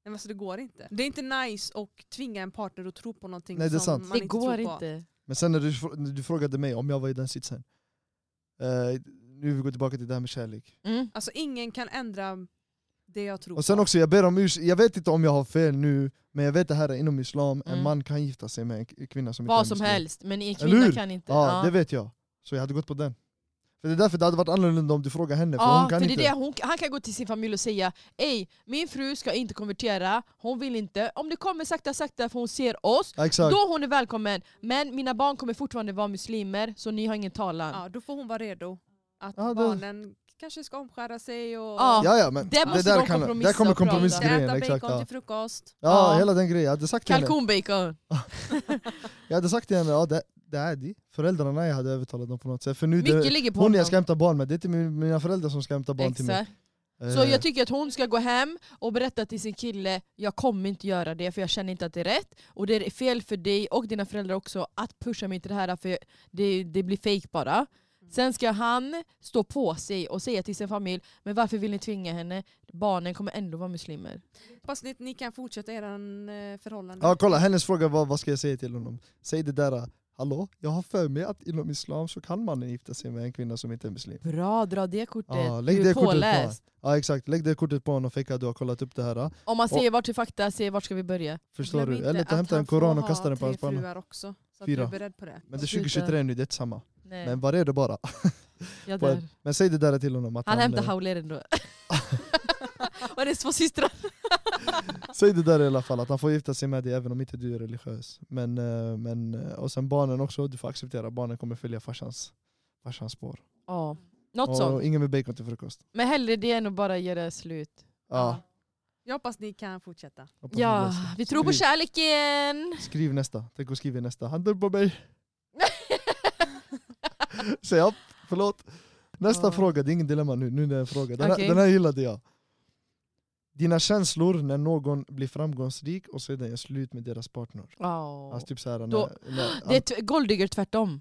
men alltså det går inte. Det är inte nice att tvinga en partner att tro på någonting
Nej, det är
som
sant.
man
det
inte
går
tror på.
inte.
Men sen när du, fr- när du frågade mig om jag var i den sitsen. Eh, nu vi går tillbaka till det här med kärlek.
Mm.
Alltså ingen kan ändra det jag tror
Och sen
på.
också, jag ber om ursäkt. Jag vet inte om jag har fel nu, men jag vet det här är inom islam. En
Mm.
man kan gifta sig med en k- kvinna som inte är
Vad som
muslim.
helst, men en
Eller hur?
kvinna kan inte.
Ja, det vet jag. Så jag hade gått på den. För det är därför det hade varit annorlunda om du frågar henne, för
Ja,
hon kan
för det är
inte.
det. Hon, han kan gå till sin familj och säga Ej, min fru ska inte konvertera, hon vill inte. Om det kommer sakta sakta för hon ser oss,
Ja, Exakt.
då hon är välkommen. Men mina barn kommer fortfarande vara muslimer, så ni har ingen talan.
Ja, då får hon vara redo att
Ja, det-
barnen kanske ska omskära sig och
Ja,
Ja, ja, men
Det
det
måste
där,
de
kan,
kompromissa
där kommer
och prata.
inte
kompromissgrejen.
äta
Exakt,
bacon
ja.
till frukost.
Ja,
typ. Ja.
hela den grejen. Jag hade sagt till henne,
Kalkonbacon.
jag hade sagt till henne ja, det, det är de. Föräldrarna jag hade övertalat dem på något sätt. För nu
Mycket
det,
ligger på
hon
honom.
jag ska hämta barn med, det är inte min- mina föräldrar som ska hämta barn till mig.
Exakt. Så
Eh,
jag tycker att hon ska gå hem och berätta till sin kille Jag kommer inte göra det för jag känner inte att det är rätt Och det är fel för dig och dina föräldrar också att pusha mig till det här för det, det blir fake bara Sen ska han stå på sig och säga till sin familj Men varför vill ni tvinga henne? Barnen kommer ändå vara muslimer
Hoppas ni, ni kan fortsätta eran eh, förhållande.
ja, kolla, hennes fråga var vad ska jag säga till honom? Säg det där, hallå, jag har för mig att inom islam så kan mannen gifta sig med en kvinna som inte är muslim.
Bra, dra det kortet!
Ja, lägg
du
det
är
kortet på.
påläst!
Ja exakt, lägg det kortet på honom och fejka att du har kollat upp det här.
Om man säger vart till fakta, säger vart ska vi börja?
Förstår
Glöm
du?
inte
Eller ta
att
hämta
han
en koran
får
och kasta
ha
den på hans
tre
panna.
fruar också. Så att
Fyra.
du är beredd på det.
Men det är 2023 nu, det är inte samma.
Nej,
Men var är det bara?
jag
på-
dör.
Men säg det där till honom. Att
Han hämtar
eh,
hauleren då Och det är två systrar
Säg det där i alla fall, att han får gifta sig med dig även om inte du är religiös. Men, eh, men, eh, och sen barnen också, du får acceptera barnen kommer följa farsans, farsans spår.
Ja, något
Och,
sånt
ingen med bacon till frukost.
Men hellre det än att bara göra slut.
Ja,
Jag hoppas ni kan fortsätta.
hoppas ni
Ja,
läser.
vi tror på
Skriv.
kärleken!
Skriv nästa, tänk och skriv nästa. Han dör på mig! Säg upp, förlåt. Nästa
Ja.
fråga, det är ingen dilemma nu, nu är det en fråga. Den,
Okej.
här, den här gillade jag. Dina känslor när någon blir framgångsrik och sedan gör slut med deras partner.
Ja.
Alltså typ såhär, när,
Då-
när,
Det är t- golddigger tvärtom.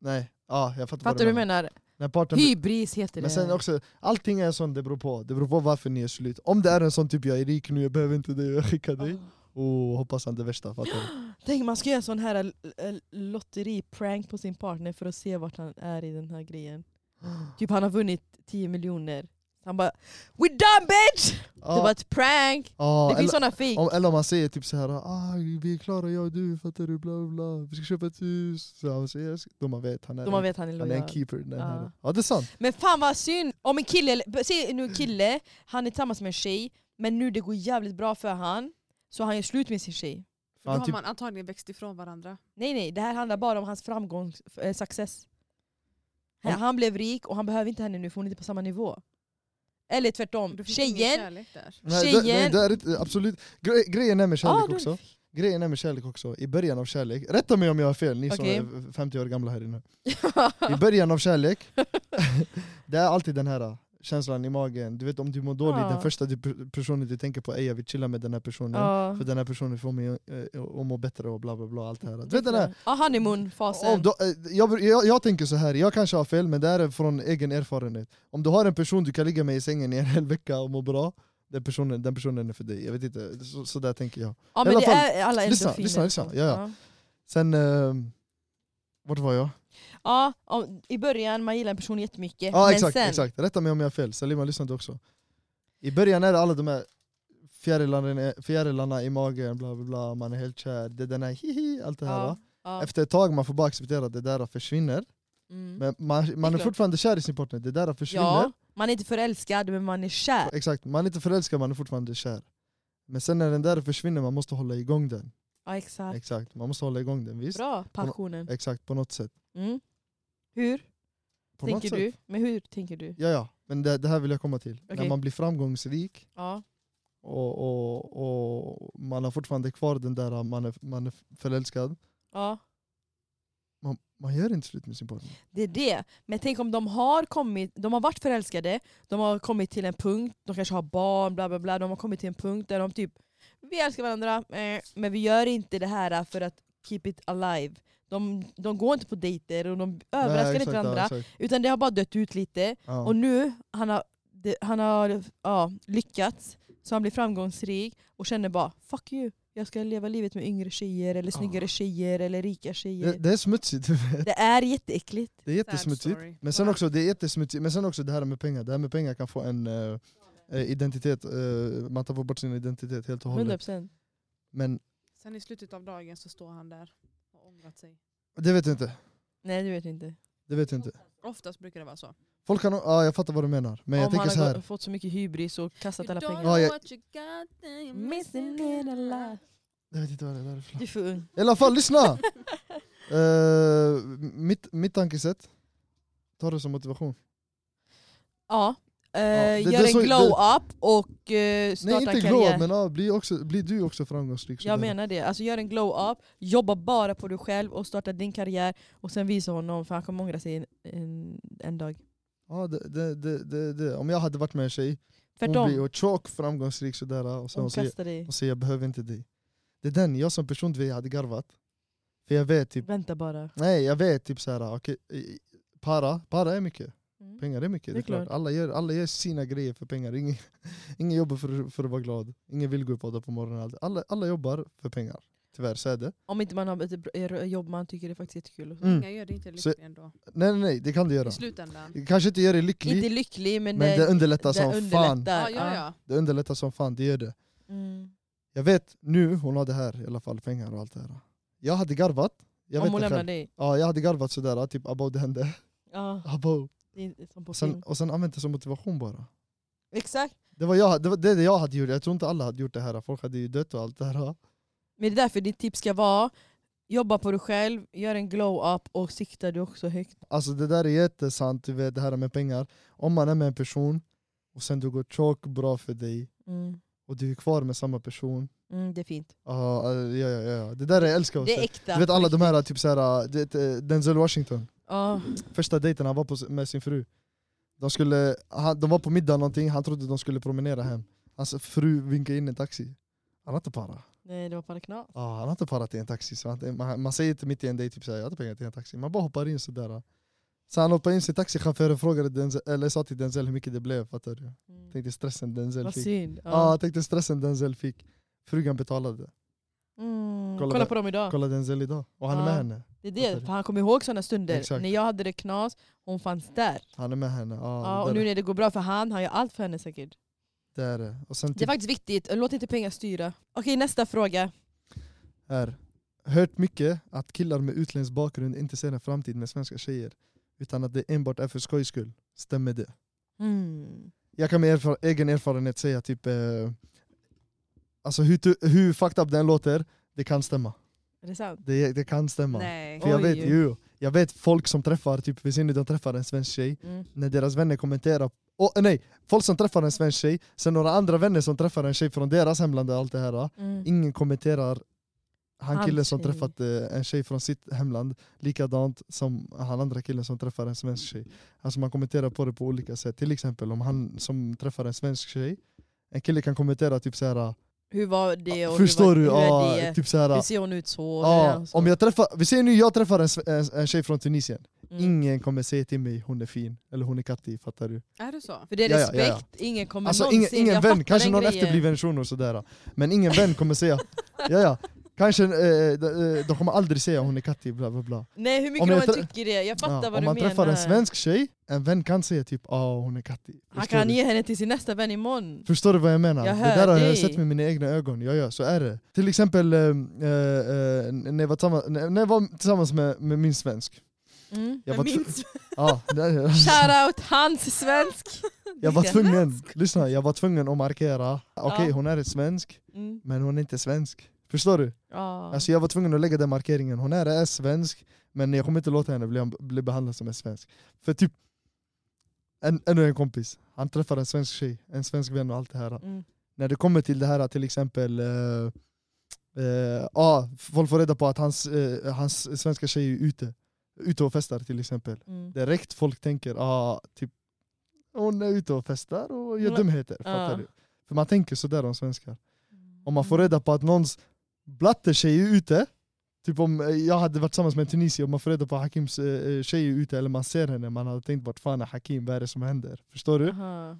nej, ja, jag fattar,
Fattar du vad jag menar?
När partnern
Hybris heter det.
Men sen också, allting är sånt, det beror på. Det beror på varför ni är slut. Om det är en sån typ, jag är rik nu, jag behöver inte dig, jag skickar dig. Och hoppas han det värsta, fattar du?
Tänk man ska göra sån här l- l- lotteriprank på sin partner för att se vart han är i den här grejen. Typ han har vunnit 10 miljoner. Han bara We done bitch! Det var ett prank!
ah,
det finns
eller,
såna fake.
om, eller om man säger typ så här, ah, vi är klara jag och du, fattar du? Bla bla, bla. Vi ska köpa ett hus. Så han säger, då man vet, han är,
Då man vet han är
han är en
lojal.
keeper. Den
Ja.
här. Ja det är sant.
Men fan vad synd! Om en kille, säg nu en kille, han är tillsammans med en tjej, men nu det går jävligt bra för han, så han gör slut med sin tjej.
Då
Han
har
typ-
man antagligen växt ifrån varandra.
Nej nej, det här handlar bara om hans framgång, eh, success. Han,
Om-
han blev rik och han behöver inte henne nu för hon är inte på samma nivå. Eller tvärtom,
Du fick ingen
tjejen,
kärlek där.
Nej, det, nej,
Tjejen-
det är inte, absolut. Gre grejen är med kärlek
Ah, du-
också. Grejen är med kärlek också, i början av kärlek, rätta mig om jag har fel, ni
Okej.
som är 50 år gamla här inne. I början av kärlek, det är alltid den här äh, känslan i magen, du vet om du mår dåligt,
Ja.
den första du, personen du tänker på är jag vill chilla med den här personen,
ja.
för den här personen får mig eh, att må bättre och bla bla bla. Allt det här. Du vet den här
Ja, honeymoon-fasen.
om du, eh, jag, jag, jag tänker så här, jag kanske har fel men det här är från egen erfarenhet. Om du har en person du kan ligga med i sängen i en hel vecka och må bra, den personen, den personen är för dig. Jag vet inte, så, så där tänker jag.
ja
i
men
alla
det
fall,
är alla
lyssna,
endorfiner.
lyssna, lyssna. Ja, ja. Sen, eh, vart var jag?
Ja, om, i början man gillar en person jättemycket,
Ja ah,
men
exakt,
sen...
exakt, rätta mig om jag har fel, Salima lyssnade också. I början är det alla de här fjärilarna, fjärilarna i magen, bla bla bla, man är helt kär, det är den här hihi, allt det här.
Ja,
va?
ja.
Efter ett tag man får bara acceptera att det där försvinner.
Mm.
Men man, man är
klart.
fortfarande kär i sin partner, det där försvinner.
ja, man är inte förälskad men man är kär.
Exakt, man är inte förälskad man är fortfarande kär. Men sen när den där försvinner, man måste hålla igång den.
Ja, exakt.
Exakt, man måste hålla igång den visst.
Bra, passionen.
Exakt, på något sätt.
Mm. Hur
På något
tänker
sätt.
du? Men hur tänker du?
Ja, ja. Men det, det här vill jag komma till. När
Okej.
man blir framgångsrik
Ja.
och, och, och man har fortfarande kvar den där äh, man är, man är förälskad,
ja,
man gör inte slut med sin partner.
det är det. Men tänk om de har kommit, de har varit förälskade, de har kommit till en punkt, de kanske har barn, bla bla bla, de har kommit till en punkt där de typ vi älskar varandra, eh, men vi gör inte det här för att keep it alive. De, de går inte på dejter och de överraskar
Nej,
inte
exakt, ja,
varandra,
exakt.
utan det har bara dött ut lite.
Ja.
Och nu, han har, det, han har ja, lyckats, så han blir framgångsrik och känner bara fuck you, jag ska leva livet med yngre tjejer, eller
Ja.
snyggare tjejer, eller rika tjejer.
Det,
Det,
det är smutsigt.
är jätteäckligt.
Det är jättesmutsigt.
story.
typ. Men sen också, det är jättesmutsigt. Men sen också det här med pengar. Det här med pengar kan få en eh, eh, identitet, eh, man tar bort sin identitet helt och hållet.
100%.
Men
Sen i slutet av dagen så står han där och har ångrat sig.
det vet jag inte.
Nej du vet inte.
Det vet jag inte.
Oftast brukar det vara så.
Folk kan, ja, jag fattar vad du menar. Men jag
Om han
tänker så
har
här.
gått- fått så mycket hybris och kastat alla pengar.
Ja, jag- Jag vet inte vad det är.
Du är för ung.
I alla fall, lyssna! Eh, mitt, mitt tankesätt, ta det som motivation.
Ja. Eh,
det- det
gör
är så-
en glow-up och eh, starta
Nej inte
en
glad
karriär.
men ja, bli, också, bli du också framgångsrik. sådär.
Jag menar det. Alltså gör en glow-up, jobba bara på dig själv och starta din karriär och sen visa honom för han kommer ångra sig en, en, en dag.
Ja, det, det, det, det, det. Om jag hade varit med en tjej, hon
Tvärtom.
blir tjock, framgångsrik sådär och sen
Hon
hon säger
kastar dig.
och säger jag behöver inte dig. Det är den, jag som person du vet, jag hade garvat. För jag vet typ,
Vänta bara.
nej jag vet typ såhär, okej, i- para, para är mycket.
Mm.
Pengar är mycket, det är klart. Alla gör, alla gör sina grejer för pengar. Ingen, ingen jobbar för, för att vara glad, ingen vill gå upp och podda på morgonen. Allt. Alla, alla jobbar för pengar. Tyvärr så är det.
Om inte man har ett bra jobb man tycker det är faktiskt jättekul. och så.
Mm.
Inga gör det inte
Så-
lycklig ändå.
Nej nej nej, det kan du göra.
I slutändan.
Det kanske inte gör dig lycklig,
Inte lycklig men,
men det underlättar som fan.
Ja, ja, ja.
Det underlättar som fan, det gör det.
Mm.
Jag vet nu, hon har det här i alla fall, pengar och allt det här. Jag hade garvat. Jag
Om
vet
hon
det
lämnar
själv.
dig.
Ja, jag hade garvat sådär, typ abow det hände.
Ja,
Abow.
det är som på
Och sen,
film.
och sen använt det som motivation bara.
Exakt.
Det var, jag, det var det jag hade gjort, jag tror inte alla hade gjort det här. Folk hade ju dött och allt det här.
Men det är därför ditt tips ska vara jobba på dig själv, gör en glow-up och siktar du också högt.
Alltså det där är jättesant, du vet det här med pengar. Om man är med en person och sen du går tjock bra för dig
Mm.
och du är kvar med samma person.
Mm, det är fint.
Ja, ja, ja, ja. Det där är jag älskar. att
Det är
se.
äkta.
Du vet alla de här, typ såhär, du vet, eh, Denzel Washington,
Ja.
första dejten han var på s- med sin fru. De, skulle, han, de var på middag någonting, han trodde de skulle promenera hem. Hans fru vinkade in en taxi. Han har inte parat.
Nej, det var bara knas.
Ja, han har inte parat i en taxi. Så han, man, man säger inte mitt i en dejt typ såhär, jag har inte pengar till en taxi. Man bara hoppar in sådär. Så han hoppade in sin taxichaufför och frågade Denzel, eller sa till Denzel hur mycket det blev, fattar du?
Mm.
Tänkte stressen Denzel
Vad
fick.
synd.
Ja,
Ja.
tänkte stressen Denzel fick. Frugan betalade.
Mm.
Kolla
Kolla,
där.
på dem idag.
Kolla Denzel idag, och han är
Ja.
med henne.
Det är
Fattar
det,
du?
för han kommer ihåg sådana stunder.
Exakt.
När jag hade det knas, hon fanns där.
Han är med henne, ja.
Ja,
där,
och nu när det går bra för han, han gör allt för henne säkert.
där är det. Och sen
Det är
typ
faktiskt viktigt, låt inte pengar styra. Okej nästa fråga.
här. Hört mycket att killar med utländsk bakgrund inte ser en framtid med svenska tjejer. Utan att det enbart är för skojs skull. Stämmer det?
Mm.
jag kan med erfar- egen erfarenhet säga typ eh, Alltså hur, tu- hur fucked up den låter, det kan stämma.
Är det sant?
Det, det kan stämma.
Nej.
För jag
Oj.
vet ju, jag vet folk som träffar, typ vi ser nu de träffar en svensk tjej,
Mm.
när deras vänner kommenterar Åh nej, folk som träffar en svensk tjej, sen några andra vänner som träffar en tjej från deras hemland och allt det här.
Mm.
Ingen kommenterar han
Hans
killen som
tjej.
träffat eh, en tjej från sitt hemland likadant som han andra killen som träffar en svensk tjej. Alltså man kommenterar på det på olika sätt. Till exempel om han som träffar en svensk tjej, en kille kan kommentera typ såhär,
Hur var det? Och
förstår
hur
du?
var, Hur
Ja,
är det?
typ
Hur
såhär,
ser hon ut så? Hur är alltså?
ja,
hon så?
ah, om jag träffar, vi säger nu jag träffar en, sve- en, en tjej från Tunisien,
Mm.
ingen kommer säga till mig hon är fin eller hon är kattig, fattar du?
Är det så?
För det är
Ja, ja,
respekt,
ja, ja.
ingen kommer
Alltså ingen,
någonsin...
ingen
jag
vän,
fattar
kanske
den
någon
grejen.
efterbliven shuno och sådär. Men ingen vän kommer säga, ja ja, kanske, eh, de, eh, de kommer aldrig säga hon är kattig bla bla bla.
Nej hur mycket
Om jag
de än
trä-
tycker det, jag fattar
Ja,
vad
om
du
man
menar.
träffar en svensk tjej, en vän kan säga typ ah hon är kattig.
han
Förstår
kan
du?
ge henne till sin nästa vän imorgon.
Förstår du vad jag menar?
Jag
det
hör
där har jag
dig.
sett med mina egna ögon, ja ja så är det. Till exempel eh, eh, eh, när, jag var tillsammans, när jag var tillsammans med, med min svensk.
Mm.
Jag
Jag
var tv-
minns
Ja, där-
Shoutout hans svensk!
jag var
Vilken
tvungen, lyssna, jag var tvungen att markera, okej
Ja.
hon är svensk,
Mm.
men hon är inte svensk. Förstår du?
Ja.
Alltså jag var tvungen att lägga den markeringen, hon är, är svensk men jag kommer inte låta henne bli, bli behandlad som en svensk. För typ, en, ännu en kompis, han träffar en svensk tjej, en svensk vän och allt det här.
Mm.
När det kommer till det här till exempel, eh, eh, ah, folk får reda på att hans, eh, hans svenska tjej är ute, ute och festar till exempel.
Mm.
Direkt folk tänker, ah, typ, hon är ute och festar och gör
Mm.
dumheter.
Ja.
Fattar du? För man tänker sådär om svenskar. Om man får reda på att någons blattetjej är ute, typ om eh, jag hade varit tillsammans med en tunisier och man får reda på att Hakims eh, eh, tjej är ute eller man ser henne, man hade tänkt vart fan är Hakim, vad är det som händer? Förstår du?
Aha.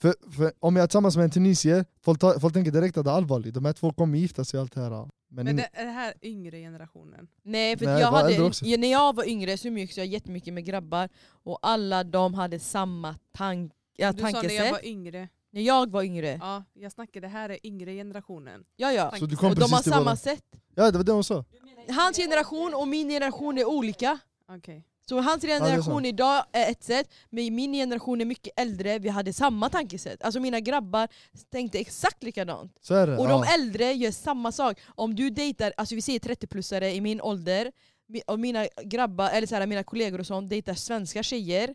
För, för om jag är tillsammans med en tunisier, folk, ta- folk tänker direkt att det är allvarligt, de här två kommer gifta sig och allt det här. ja. Men,
Men
ingen-
det, är det här yngre generationen?
Nej för
Nej,
jag
var
hade,
äldre också.
ja, när jag var yngre så umgicks jag jättemycket med grabbar och alla de hade samma tank, ja,
Du sa när jag
tankesätt.
var yngre.
När jag var yngre,
Ja, jag snackar, det här är yngre generationen.
ja ja.
så du kom
Och de
precis
har
till
samma
våran...
sätt.
Ja det var det hon sa.
Hans generation och min generation är olika.
Okej.
Så hans
sant.
generation idag är ett sätt, men min generation är mycket äldre, vi hade samma tankesätt. Alltså mina grabbar tänkte exakt likadant.
Så är det.
Och
ja.
de äldre gör samma sak. Om du dejtar, alltså vi säger 30-plussare i min ålder, mi- och mina grabbar, eller så här, mina kollegor och sånt dejtar svenska tjejer,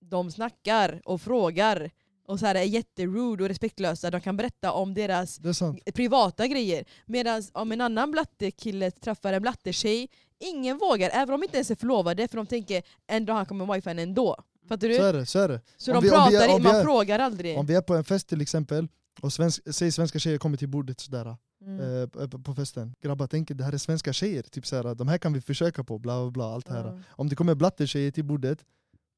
de snackar och frågar och så här, är jätterude och respektlösa. De kan berätta om deras
Det är sant.
privata grejer. Medan om en annan blattekille träffar en blattetjej, ingen vågar, även om de inte ens är förlovade, för de tänker en dag han kommer wifi henne ändå. Fattar
Så
du?
är det, så är det.
Så
om
de
vi- om vi-
pratar,
om vi är-
man frågar aldrig.
Om vi är på en fest till exempel, och svensk, säg svenska tjejer kommer till bordet sådär.
Mm.
eh, p- p- på festen. Grabbar tänker det här är svenska tjejer, typ såhär, de här kan vi försöka på, bla bla bla. Allt det här.
Ja.
Om det kommer blattetjejer till bordet,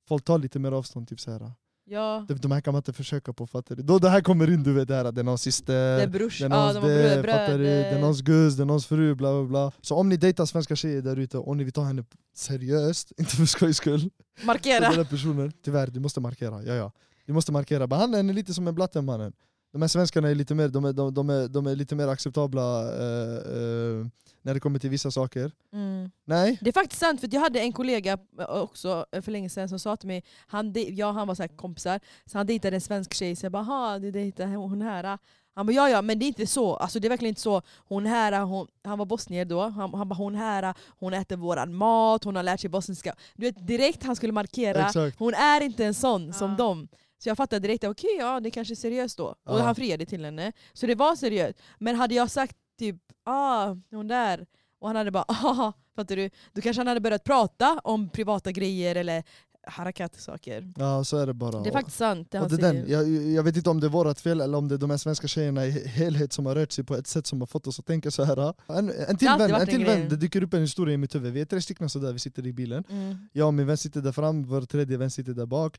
folk tar lite mer avstånd. Typ såhär.
Ja,
De, de här kan man inte försöka på, fattar du? Då det här kommer in, du vet det här, det är någons
det är
syster,
brors,
det är
ja,
någons
de har
det,
bröder,
fattar du? Det är
bröder.
någons gus, det är någons fru, bla bla bla. Så om ni dejtar svenska tjejer där ute och ni vill ta henne seriöst, inte för skojs skull, för
Markera!
den här personen, tyvärr, du måste markera. Ja, ja. Du måste markera, behandla henne lite som en blatte mannen. De här svenskarna är lite mer, de är, de, de är, de är lite mer acceptabla eh, eh, när det kommer till vissa saker.
Mm.
Nej,
Det är faktiskt sant, för att jag hade en kollega eh, också eh, för länge sedan som sa till mig, han, dej- jag och han var så här kompisar, så han dejtade en svensk tjej, så jag bara "Aha, du dejtar hon här? ah." Han bara ja ja, men det är inte så, alltså, det är verkligen inte så. Hon här, ah, hon, han var bosnier då, han, han bara hon här, ah, hon äter våran mat, hon har lärt sig bosniska. Du vet direkt han skulle markera,
exakt.
hon är inte en sån som
Ja.
dem. Så jag fattade direkt, okej ja det kanske är seriöst då. Och
Ja.
han friade till henne. Så det var seriöst. Men hade jag sagt typ ah hon där, och han hade bara ah, fattar du? Då kanske han hade börjat prata om privata grejer eller harakat saker.
Ja, så är det bara.
Det är faktiskt sant det
och
han
det är
säger.
den. Jag, jag vet inte om det är vårat fel eller om det är de här svenska tjejerna i helhet som har rört sig på ett sätt som har fått oss att tänka så här. En, en till
Det har alltid
vän,
varit
en
en
till
grej.
vän, det dyker upp en historia i mitt huvud. Vi är tre stycken sådär, vi sitter i bilen.
Mm.
Jag och min vän sitter där fram, vår tredje vän sitter där bak.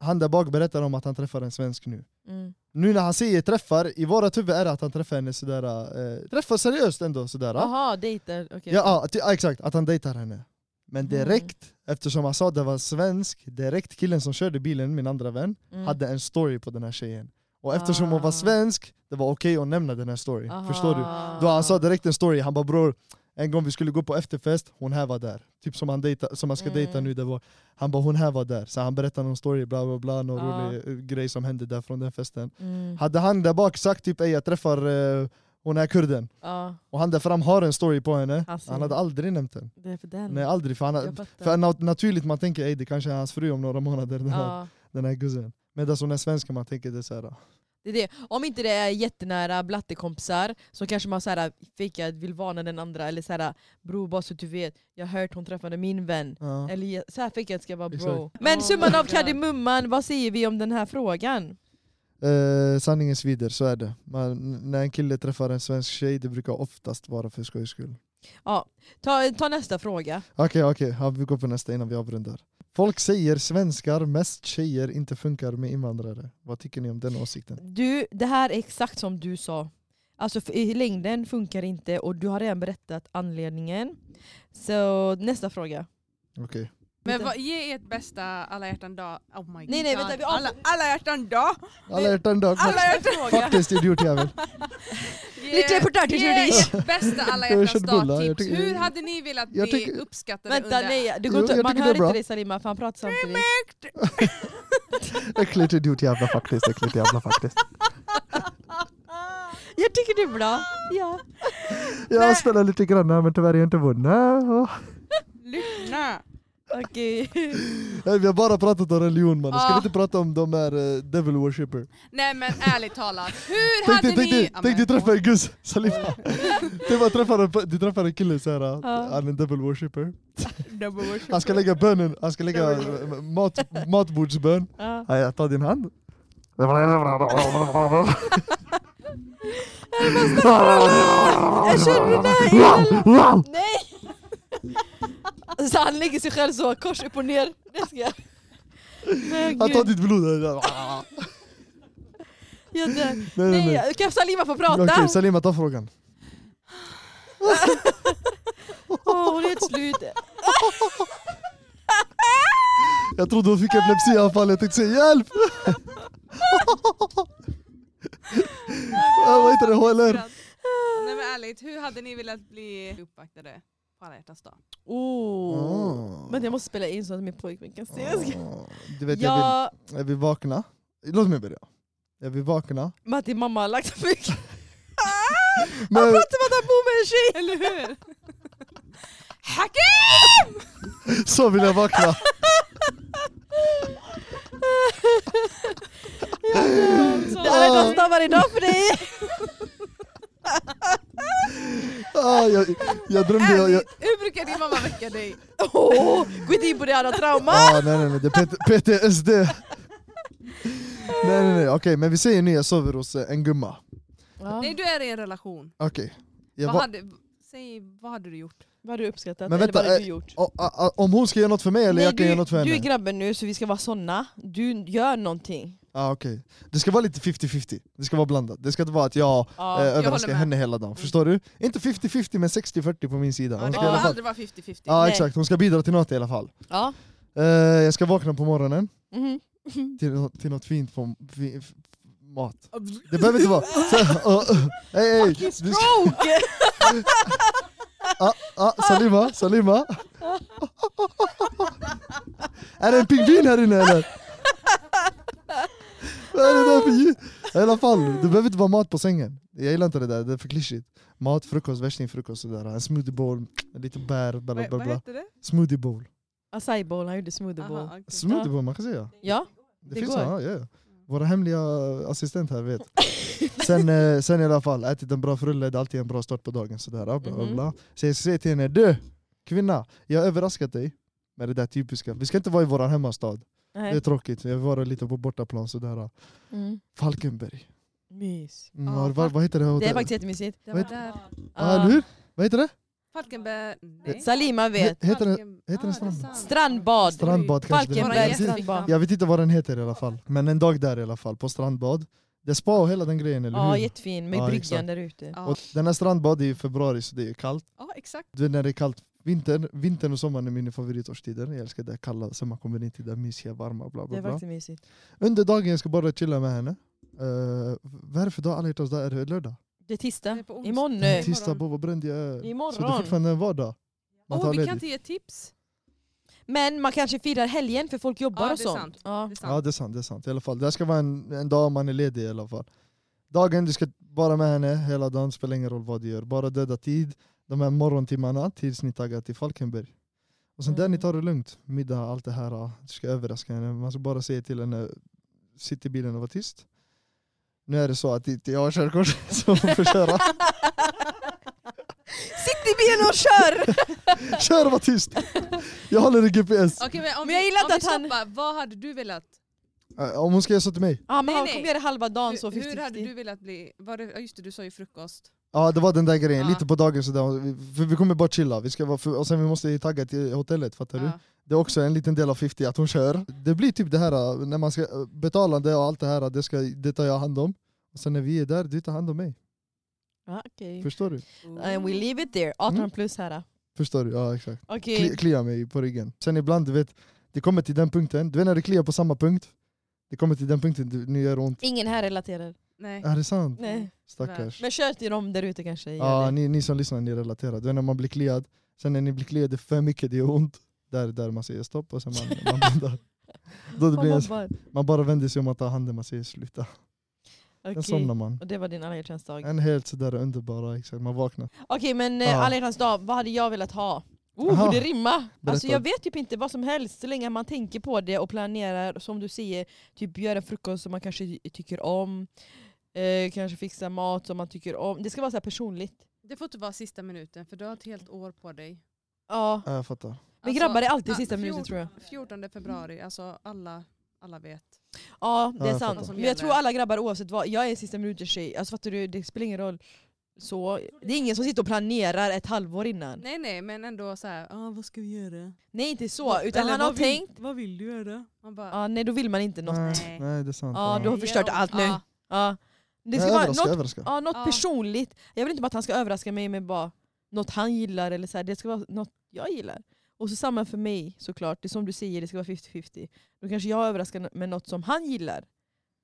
han där bak berättar om att han träffar en svensk nu.
Mm.
Nu när han säger träffar, i vårat huvud är det att han träffar henne sådär, eh, träffar seriöst ändå sådär. ah.
Jaha, dejter. Okej.
Ja, ja, ty- ja, exakt, att han dejtar henne. Men
Mm.
direkt, eftersom han sa att det var svensk, direkt killen som körde bilen, min andra vän,
Mm.
hade en story på den här tjejen. Och eftersom hon var
Ah.
svensk, det var okej att nämna den här storyn.
Aha.
Förstår du? Då han sa direkt en story, han bara bror, en gång vi skulle gå på efterfest, hon här var där. Typ som han, dejta, som han ska dejta
Mm.
nu, det var, han bara hon här var där. Så han berättade någon story, bla bla bla, någon
Ja.
rolig eh, grej som hände där från den festen.
Mm.
Hade han där bak sagt typ "Ey, jag träffar eh, hon här kurden,
Ja,
och han där fram har en story på henne,
Han ser
han hade
den.
aldrig nämnt den.
det är för den.
Nej aldrig, för, han,
Alltså. Mm. jag
har-
fattar.
för nat- naturligt man tänker "Ey, det kanske är hans fru om några månader, den här,
ja.
den här guzzen. Medan hon är svenska man tänker det såhär,
Det är det. Om inte det är jättenära blattekompisar så kanske man så här, fejkar att vill vara när den andra, eller så här, bror bara så att du vet, jag har hört hon träffade min vän.
ja.
Eller jag- så här fejkar jag att det ska vara bro.
Exakt.
Men
Ja,
summan av
det där.
kardemumman, vad säger vi om den här frågan?
Eh, sanningen svider, så är det. Man, när en kille träffar en svensk tjej, det brukar oftast vara för skojs skull.
Ta, ta nästa fråga.
Okej, okej, ja, vi går på nästa innan vi avrundar. Folk säger svenskar, mest tjejer, inte funkar med invandrare. Vad tycker ni om den åsikten?
Du, det här är exakt som du sa. Alltså för- i längden funkar inte och du har redan berättat anledningen. Så nästa fråga.
Okej.
Men
Vänta.
vad, ge ert bästa alla hjärtan dag. Oh my
Nej,
god.
nej, vänta, vi av-
alla, alla hjärtan dag.
Alla hjärtan dag.
Alla hjärtan.
Faktiskt idiotjävel.
Ge-
Lite reportage,
ge
hörde ni?
ert bästa alla
Jag
hjärtans
kör bullar, jag
dag-tips.
tycker-
Hur hade ni velat
jag
bli
tycker-
uppskattade
Vänta
under...
nej, det går
Jo,
inte,
jag
man
tycker
hör
det är bra.
inte dig Salima för han pratar samtidigt.
Äckligt idiotjävla faktiskt, äckligt jävla faktiskt.
Jag tycker det är bra. Ja.
Jag spelar lite grann här, men tyvärr är jag inte Ah. vunnit.
Lyssna.
Okej.
Nej, Vi har bara pratat om religion mannen, ska vi
Ah.
inte prata om de här eh, devil worshipper?
Nej men ärligt talat, hur
Tänk dig,
hade
tänk
ni...
dig,
Ja,
tänk dig
men-
träffa en guss, Salifa. Du bara träffar en, du träffar en kille såhär,
Ah.
han är en devil worshipper.
Double worship.
Han ska lägga bönen, han ska lägga eh, mat, matbordsbön.
Ja.
Ja, Jag tar din hand.
Jag känner det där innan- Nej! Så han lägger sig själv så, kors upp och ner. Det ska jag. Men
Han tar
gud,
ditt blod.
jag dör.
Nej, nej, nej.
Nej, kan Salima få
Okej,
prata?
Salima ta frågan.
Åh, hon är helt slut.
Jag trodde hon fick epilepsianfall, jag tänkte säga hjälp! Ja, Vad heter det, HLR?
Nej men ärligt, hur hade ni velat bli uppvaktade på alla hjärtans dag?
Oh.
Ah.
Men jag måste spela in så att min pojkvän kan se. Jag ska-
Ah. Du vet, jag vill,
Ja,
jag vill vakna. Låt mig börja. Jag vill vakna.
Matti mamma har lagt för mycket.
Men,
Som att han bor med en tjej!
Eller hur?
så vill jag vakna.
Det är alla hjärtans dag varje dag för dig.
Ah, jag, jag drömde... Jag, jag,
Ärligt, hur brukar din mamma väcka dig?
Åh, gå inte in på det, han har trauma.
ah, nej, nej, nej, det är PT PTSD. Nej, nej, nej. Okej, men vi säger nu jag sover hos eh, en gumma. Ah.
Nej du är i en relation.
Okej. Jag
Vad
va-
hade, säg, vad hade du gjort?
Vad har du uppskattat?
Men
eller
vänta,
vad har du
eh,
gjort?
o- a- a- om hon ska göra något för mig eller jag kan
du,
göra något för henne?
du är grabben nu så vi ska vara såna. Du gör någonting.
Ah, okej. Det ska vara lite 50-50, det ska vara blandat. Det ska inte vara att jag,
Ja,
eh,
jag
överraskar
med. Mm.
henne hela dagen, förstår du? Inte 50-50 men 60-40 på min sida.
Ja,
Hon ska,
kan
det
i
kommer
alla fall,
aldrig vara 50-50.
ja,
Nej.
exakt. Hon ska bidra till något i alla fall.
Ja.
Eh, jag ska vakna på morgonen
Mhm.
Mm-hmm.
till, nå- till något fint på fi, f- mat. Det behöver inte vara... Så, uh, uh, hey, hey. Du ska-
Stroke!
Ah, ah, Salima, Salima. är det en pingvin här inne eller? Vad är det där för ljud? I alla fall, det behöver inte vara mat på sängen. Jag gillar inte det där, det är för klyschigt. Mat, frukost, värstingfrukost sådär. En smoothie bowl, lite bär, bla bla
Vad, vad
bla.
hette det?
Smoothie bowl.
Acai bowl, han gjorde smoothie bowl.
Aha, okej.
Smoothie bowl, man kan säga.
Ja,
Det,
Det
finns
går.
såna, ja. ja. Våra hemliga assistent här vet. sen, eh, sen i alla fall, ätit en bra frulle, det är alltid en bra start på dagen. Sådär, bla, bla,
Mhm.
bla. Så jag säger till henne, du kvinna, jag har överraskat dig med det där typiska. Vi ska inte vara i vår hemmastad, det är
nej.
tråkigt. Jag vill vara lite på bortaplan sådär.
Mm.
Falkenberg.
Mys.
Mm,
Ja,
har- vad,
fakt-
vad heter det
Det är
hotellet?
faktiskt jättemysigt.
Det
Vad
var
heter-
där.
Ah, eller hur? Vad heter det?
Falkenberg... Nej.
Salima vet.
He- heter den-
Falken-
heter den
Ah,
strand?
det är sant.
Strandbad.
Strandbad kanske det
Våra
Falkenbergs
heter.
gäster-
strandbad.
Jag vet inte vad den heter i alla fall, men en dag där i alla fall, på strandbad. Det är spa och hela den grejen, eller
Ja,
hur?
jättefin. Med
Ja,
bryggan
exakt.
där ute.
Ja,
Och den här strandbad är i februari så det är kallt.
ja, exakt.
Du vet när det är kallt, vintern, vintern och sommaren är mina favoritårstider. Jag älskar det kalla, sen man kommer in till det mysiga, varma, bla
Det
bla
är
bla.
faktiskt mysigt.
Under dagen jag ska bara chilla med henne. Uh, vad är det för dag? Alla hjärtans dag? Är det lördag?
Det är tisdag.
Det är på onsdag.
Imorgon.
Nej.
eh,
Tisdag, bo, vad bränd jag är. Så det är
Imorgon.
fortfarande en vardag. Man
Åh,
tar
vi kan
ledigt.
inte ge tips.
Men man kanske firar helgen för folk jobbar
Ja, det är
och sånt.
sant.
Ja.
Det är sant.
Ja det är sant, det är sant. I alla fall. Det här ska vara en, en dag man är ledig i alla fall. Dagen du ska bara med henne hela dagen, spelar ingen roll vad du gör. Bara döda tid, de här morgontimmarna tills ni taggar till Falkenberg. Och sen där
Mm.
ni tar det lugnt, middag, allt det här. ah, Du ska överraska henne, man ska bara säga till henne, sitt i bilen och var tyst. Nu är det så att inte jag har körkort så hon får köra.
Sitt i bilen och kör!
Kör och var tyst! Jag håller i GPS.
Okej, men om
Men
vi-
jag gillar
om
inte
vi
att han-
stoppar, Vad hade du velat?
Eh, Om hon ska göra så till mig.
Ja, men han
nej.
kommer göra det halva dagen så
hur, hur hade
50-50.
du velat bli? Var det, ja, just det, du sa ju frukost.
Ja det var den där grejen,
Ja.
lite på dagen sådär. Vi- För vi kommer bara chilla, vi ska vara för, och sen vi måste tagga till hotellet fattar du?
Ja.
Det är också en liten del av 50 att hon kör. Det blir typ det här när man ska betalande och allt det här, äh, det, ska, det tar jag hand om. Och sen när vi är där, du tar hand om mig.
Ja, okej.
Förstår du?
And we leave it there. 18
Mm.
plus här.
Förstår du? Ja exakt.
Okej.
Kli, kliar mig på ryggen. Sen ibland, du vet, det kommer till den punkten, du vet när det kliar på samma punkt? Det kommer till den punkten, du, nu gör det ont.
Ingen här relaterar.
Nej.
Är det sant?
Nej.
Stackars.
Men kör till dem där ute kanske. gör
Ja,
det.
ni, ni som lyssnar, ni relaterar. Du vet när man blir kliad, sen när ni blir kliade för mycket, det gör ont. Där, där man säger stopp och sen man, man blundar. Då det
Fan,
blir en,
vad bra.
man bara vänder sig om man tar handen, man säger sluta. Sen
Okej.
somnar man.
Och det var din alla hjärtans dag.
En helt sådär underbara, exakt. Man vaknar.
Okej men
Ja.
ja. alla hjärtans dag, vad hade jag velat ha? Oh,
Aha.
det rimma! Alltså,
Berätta.
jag vet typ inte vad som helst så länge man tänker på det och planerar som du säger, typ gör en frukost som man kanske tycker om, eh, kanske fixa mat som man tycker om. Det ska vara så här personligt.
Det får inte vara sista minuten för du har ett helt år på dig. Alltså,
Ja. alltså,
Ja, jag fattar.
Men grabbar är alltid
ja,
sista
fjort-
minuten tror jag.
14 februari, alltså alla, alla vet.
Ja det
Ja,
är
jag
sant.
fattar.
Men jag tror alla grabbar oavsett vad, jag är sista minuten tjej. Alltså fattar du, det spelar ingen roll. Så, det är ingen som sitter och planerar ett halvår innan.
Nej nej men ändå så här, ah, vad ska vi göra?
Nej inte så, utan
Eller,
han
vad
har
vill-
tänkt,
Vad vill du göra? Man bara,
ja, nej då vill man inte något.
Nej,
Nej.
nej, det är sant.
Ja,
Ja,
du har förstört allt nu.
Ja,
Ja. Det
Nej,
ska vara
överraska,
något,
överraska.
ja, något
Ja.
personligt. Jag vill inte bara att han ska överraska mig med bara något han gillar. Eller så här. Det ska vara något jag gillar. Och så samma för mig såklart. Det är som du säger, det ska vara 50-50. Då kanske jag överraskar med något som han gillar.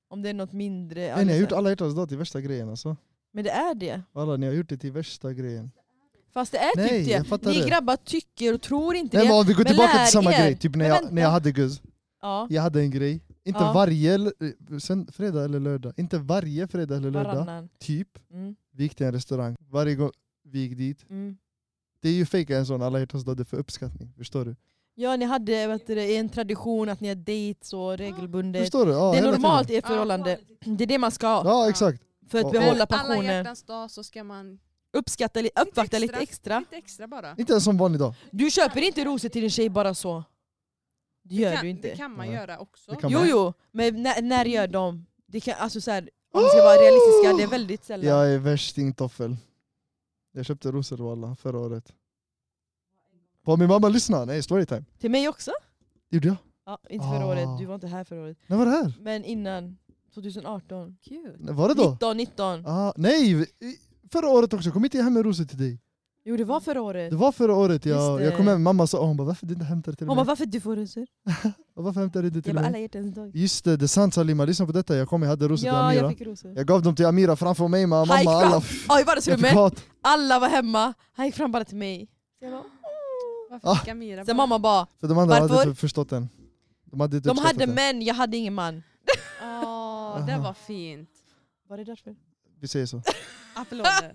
Om det är något mindre.
Nej, ni har
alltså.
gjort alla hjärtans dag till värsta grejen alltså.
Men det är det.
Alla, ni har gjort det till värsta grejen.
Fast det är
Nej,
typ
jag
det.
fattar
Ni
det.
grabbar tycker och tror inte
Nej,
det.
men om vi går
Men
tillbaka
lär
till samma
er.
grej, typ när
Men
jag,
vänta.
när jag hade guzz.
Ja,
Jag hade en grej, inte
Ja.
varje, l- eh, sen fredag eller lördag, inte varje fredag eller lördag,
varannan.
typ,
Mm,
vi gick till en restaurang. Varje gång vi gick dit,
mm.
det är ju fejka en sån alla hjärtans dag, det är för uppskattning. Förstår du?
Ja, ni hade vet du, en tradition att ni har dejts och regelbundet.
Förstår du? Ja,
Det är
hela
normalt
tiden.
i ett
Ja.
förhållande. Det är det man ska ha
Ja, exakt.
för att
Och-
behålla
alla
passionen.
hjärtans dag så ska man
Uppskatta, li- uppvakta lite
extra.
extra.
lite extra bara.
Inte en som vanlig dag.
Du köper inte rosor till din tjej bara så. Det gör
kan,
du
Det
inte.
kan man
Nej.
göra också.
Det kan
Jo
man.
jo, men när, när gör de? Det kan, alltså så här, om vi ska
Oh!
vara realistiska, det är väldigt sällan.
Jag är värstingtoffel. Jag köpte rosor walla förra året. På min mamma lyssna, nej storytime.
Till mig också?
Det gjorde jag.
Ja, inte förra
Ah.
året, du var inte här förra året.
När var det här?
Men innan, 2018.
Cute.
När Var det då?
19, 19.
Ah, nej! i- Förra året också, kom inte jag hem med rosor till dig?
Jo det var förra året.
Det var förra året
Just
jag,
det.
jag kom hem, mamma sa hon bara varför du inte hämtar till
Hon
mig?
bara varför du får rosor?
Och varför hämtar du inte till
Jag bara
mig?
alla hjärtans dag.
Just det, det är sant Salima, lyssna på detta. Jag kom, jag hade rosor
Ja
till
jag
Amira.
fick rosor.
Jag gav dem till Amira framför mig, mamma,
Han gick
mamma alla.
Ja i
Jag fick
vardagsrummet,
hat.
alla var hemma. Han gick fram bara till mig. Så jag bara,
Varför fick Amira
Sen
bara-
mamma bara,
För de andra hade
Varför?
inte förstått den. De hade inte
de
uppskattat
hade
den.
män, jag hade ingen man.
Åh, det
Aha.
var fint.
Var det därför?
Vi säger så.
Applåder.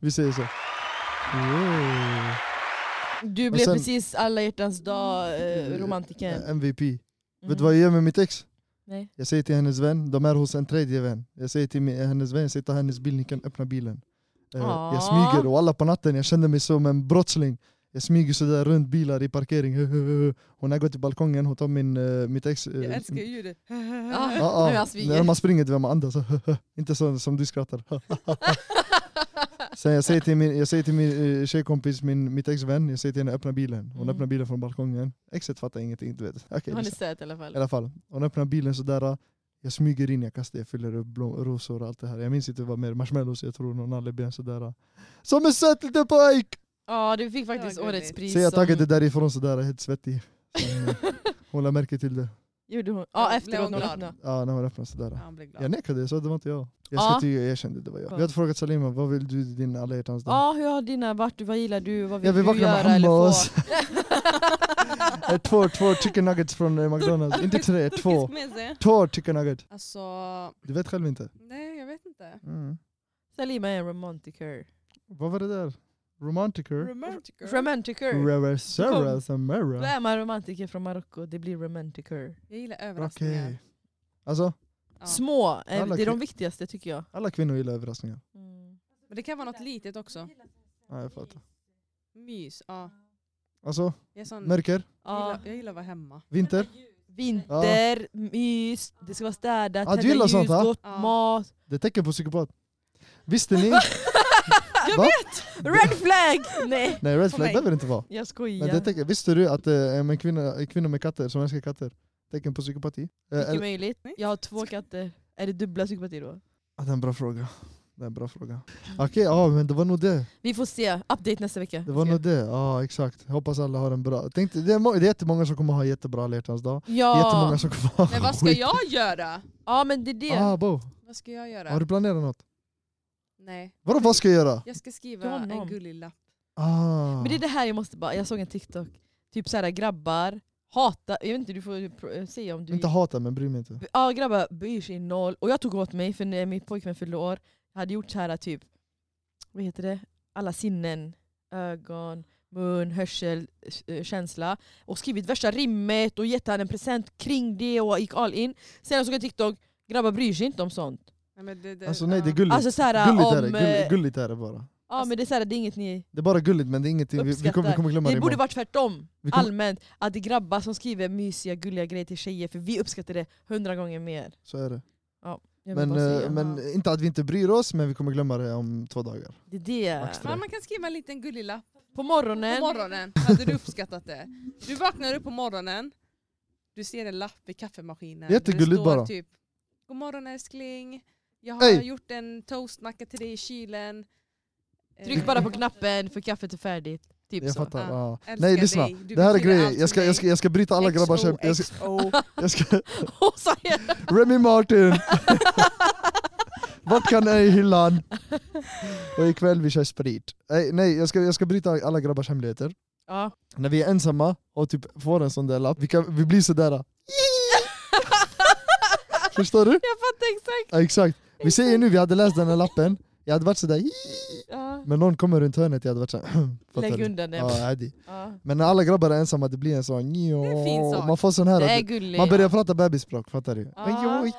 Vi säger så. Wow.
Du
Och
blev
sen-
precis alla hjärtans dag eh, romantiken.
MVP. eh, Vet
Mm.
du vad jag gör med mitt ex?
Nej.
Jag säger till hennes vän, de är hos en tredje vän. Jag säger till min, hennes vän, jag säger ta hennes bil, ni kan öppna bilen. Eh,
Åh.
jag smyger och alla på natten, jag känner mig som en brottsling. Jag smyger sådär runt bilar i parkering. Hon har gått till balkongen, hon tar min, eh, mitt ex... eh,
Jag älskar ju ljudet.
Ah,
Ja, ja.
nu är han
När
svigen.
man springer du vet man andas. Inte så, som du skrattar. Sen jag säger till min, jag säger till min eh, tjejkompis, min, mitt exvän, jag säger till henne öppna bilen. Hon
Mm.
öppnar bilen från balkongen. Exet fattar ingenting, du vet. Okej,
Har ni
lyssna.
sett i alla
I
fall?
alla fall, hon öppnar bilen sådär. eh. Jag smyger in, jag kastar, jag fyller upp blom, rosor och allt det här. Jag minns inte vad mer, marshmallows, jag tror någon alleben sådär. eh. Som en söt liten pojk!
Ja, du fick faktiskt
Ja, gulligt.
årets pris.
Så jag har tagit det
som-
därifrån sådär, helt svettig. Sen, eh, Hon lade märke till det.
Gjorde hon?
Blev
Ja,
hon
efteråt när hon
glad?
öppnade.
Ja, när hon öppnade sådär. eh.
Han blir glad.
Jag nekade, jag sa det var inte jag. Jag
Ja.
ska till jag erkände det var jag. Vi hade frågat Salima, vad vill du i din alla hjärtans dag?
Ja, hur har dina varit? Vad gillar du? Vad vill
Jag vill
du
vakna med
göra eller få?
hummus. Eh, Två, två chicken nuggets från eh, McDonalds. Inte tre, två.
Turkisk meze.
Två chicken nuggets.
Alltså,
Du vet själv inte. Mm.
nej jag vet inte.
Salima är en romantiker.
Vad var det där? Romantiker?
Romantiker.
Romantiker.
Reversera
Då
Samara.
är man romantiker från Marocko, det blir romantiker.
jag gillar
Okej.
överraskningar.
Alltså,
Ja.
Små, eh,
Alla
det är de
kri-
viktigaste tycker jag.
alla kvinnor gillar överraskningar.
Men det kan vara något litet också.
Ja, jag fattar.
Mys. Ja.
Alltså,
Jag, är sån, jag,
mörker,
Ja.
gillar, jag gillar att vara hemma.
vinter.
Vinter, mys, det ska vara städat,
Ja, du gillar sånt, va?
gott
Ja.
mat.
Det är tecken på psykopat. Visste ni?
Jag
Va?
vet! Red flag! Nej,
Nej, red flag
mig.
behöver det inte vara.
jag
Men det är
skojar.
tecken, visste du att eh, en kvinna, en kvinna med katter, som älskar katter, tecken på psykopati? Eh,
Mycket
eller-
möjligt. Jag har två katter. Är det dubbla psykopati då?
Ja, Ah, det är en bra fråga. Det är en bra fråga. Okej, ja men det var nog det.
Vi får se. Update nästa vecka.
Det var nog det. Ja, exakt. Hoppas alla har en bra... Tänkte, det, är må- det är jättemånga som kommer ha jättebra alla hjärtans dag. Jättemånga
Ja.
som kommer ha
Men vad ska jag göra?
ja, men det är det.
Ah, Bo,
Vad ska jag
har
göra?
du planerat något?
Nej.
Vadå vad ska jag göra?
Jag ska
Till
skriva
honom.
en gullig lapp.
Ah.
Men det är det här jag måste bara, jag såg en TikTok. Typ såhär grabbar, hata, jag vet inte du får pr- säga om du...
Inte hata men bry mig inte.
B- Ja grabbar bryr sig noll. Och jag tog åt mig för när min pojkvän fyllde år, jag hade gjort så här typ, vad heter det? Alla sinnen. Ögon, mun, hörsel, s- eh, känsla. Och skrivit värsta rimmet och gett han en present kring det och gick all in. Sen såg jag TikTok, grabbar bryr sig inte om sånt.
Nej, men det, det,
Alltså nej det är
ja.
gulligt.
Alltså såhär
gulligt, är
om...
det.
eh,
Gull, gulligt är det bara.
Ja men det är såhär, det är inget ni...
Det är bara gulligt men det är ingenting, vi, vi, kommer, vi
Uppskattar.
kommer glömma det
Det borde
imorgon.
varit tvärtom,
Vi kommer-
allmänt. Att det är grabbar som skriver mysiga, gulliga grejer till tjejer, för vi uppskattar det hundra gånger mer.
Så är det.
Jag vill
Men,
bara
eh,
säga.
men inte att vi inte bryr oss men vi kommer glömma det om två dagar.
Det är det.
Max tre.
Men man kan skriva en liten gullig lapp
På
på
morgonen,
morgonen. Hade du uppskattat det? Du vaknar upp på morgonen, du ser en lapp vid kaffemaskinen.
Jättegulligt
det står
bara.
typ God morgon älskling, jag har
Hej.
gjort en toastmacka till dig i kylen. Eh,
Eh, tryck bara på knappen för kaffet är färdigt. Typ
Jag
så.
fattar.
Ja.
Ja.
Älskar
Nej lyssna,
dig. Du
det här är
betyder
grejen.
allt
Jag ska,
för
jag, ska, jag ska bryta alla grabbars skämt. Jag ska,
XOXO.
jag ska,
Och så är det.
Remy Martin! Vart kan jag i hyllan? Och ikväll vi kör sprit. Nej, nej jag, ska, jag ska bryta alla grabbars hemligheter.
Ja.
När vi är ensamma och typ får en sån där lapp, vi, kan, vi blir sådär... Förstår du?
Jag fattar exakt!
Ja, exakt. Vi säger nu, vi hade läst den här lappen, jag hade varit sådär...
Ja.
Men någon kommer runt hörnet, jag hade varit såhär... fattar
Lägg
du?
undan det.
Ja, adi.
Ja.
Men när alla grabbar är ensamma det blir en sån...
en fin sak.
Man får sån här...
Det är
att-
gulligt.
Man börjar prata bebisspråk, fattar du?
Ja.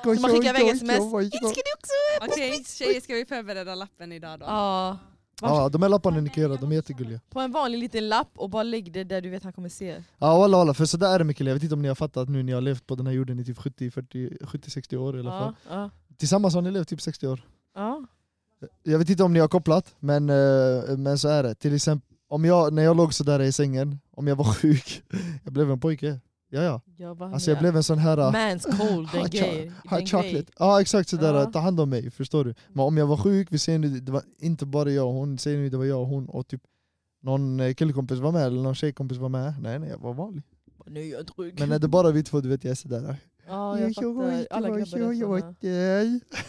Så man skickar iväg sms. Ska du också?
Okej tjejer ska vi förbereda lappen idag då?
Ja.
Ja, de här lapparna ni kan göra, de är jättegulliga.
På en vanlig liten lapp och bara lägg det där du vet han kommer se.
Ja walla walla, för sådär är det Mikael, jag vet inte om ni har fattat nu, ni har levt på den här jorden i typ 70-60 år i alla fall.
Ja. Ja.
Tillsammans har ni levt typ 60 år.
Ja.
Jag vet inte om ni har kopplat, men, eh, men så är det. Till exempel, om jag, när jag låg sådär i sängen, om jag var sjuk, jag blev en pojke. Ja ja,
Jag bara,
alltså jag blev en sån här... eh,
Mans cold, den
Hot cho-
grejer.
Hot
den
chocolate.
grej.
Ja exakt sådär,
Ja.
att ta hand om mig, förstår du? Men om jag var sjuk, vi säger nu, det var inte bara jag och hon, säger nu det var jag och hon och typ någon eh, killkompis var med eller någon tjejkompis var med. Nej nej, jag var vanlig.
Nu är jag trygg.
Men är det bara vi två, du vet jag är sådär.
ja, jag fattar. Alla grabbar är såna.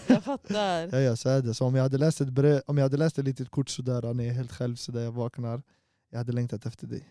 Jag fattar.
Ja, ja, så är det. Så om jag hade läst ett, brev, om jag hade läst ett litet kort sådär när jag är helt själv sådär jag vaknar, jag hade längtat efter dig.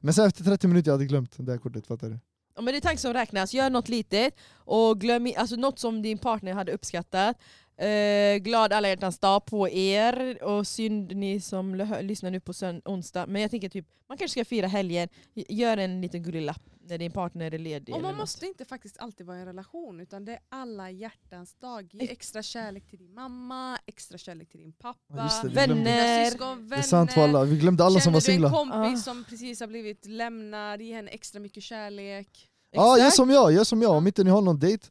Men sen efter 30 minuter jag hade glömt det där kortet, fattar du?
Ja, men det är tanken som räknas. Gör något litet och glöm i- alltså något som din partner hade uppskattat. Eh, glad alla hjärtans dag på er och synd ni som lö- hö- lyssnar nu på sön- onsdag. Men jag tänker typ, man kanske ska fira helgen. G- Gör en liten gullig lapp när din partner är ledig.
Och
eller
man
något.
måste inte faktiskt alltid vara i en relation utan det är alla hjärtans dag. Ge extra kärlek till din mamma, extra kärlek till din
Ja,
pappa,
just det, vi glömde-
Vänner.
dina syskon,
Det är
eh,
sant
vänner.
alla. vi glömde alla som var
Känner du
singlar.
en kompis
Ah.
som precis har blivit lämnad, ge henne extra mycket kärlek.
Ja, ah, gör
Exakt.
som jag, gör som jag. Om inte ni har någon dejt,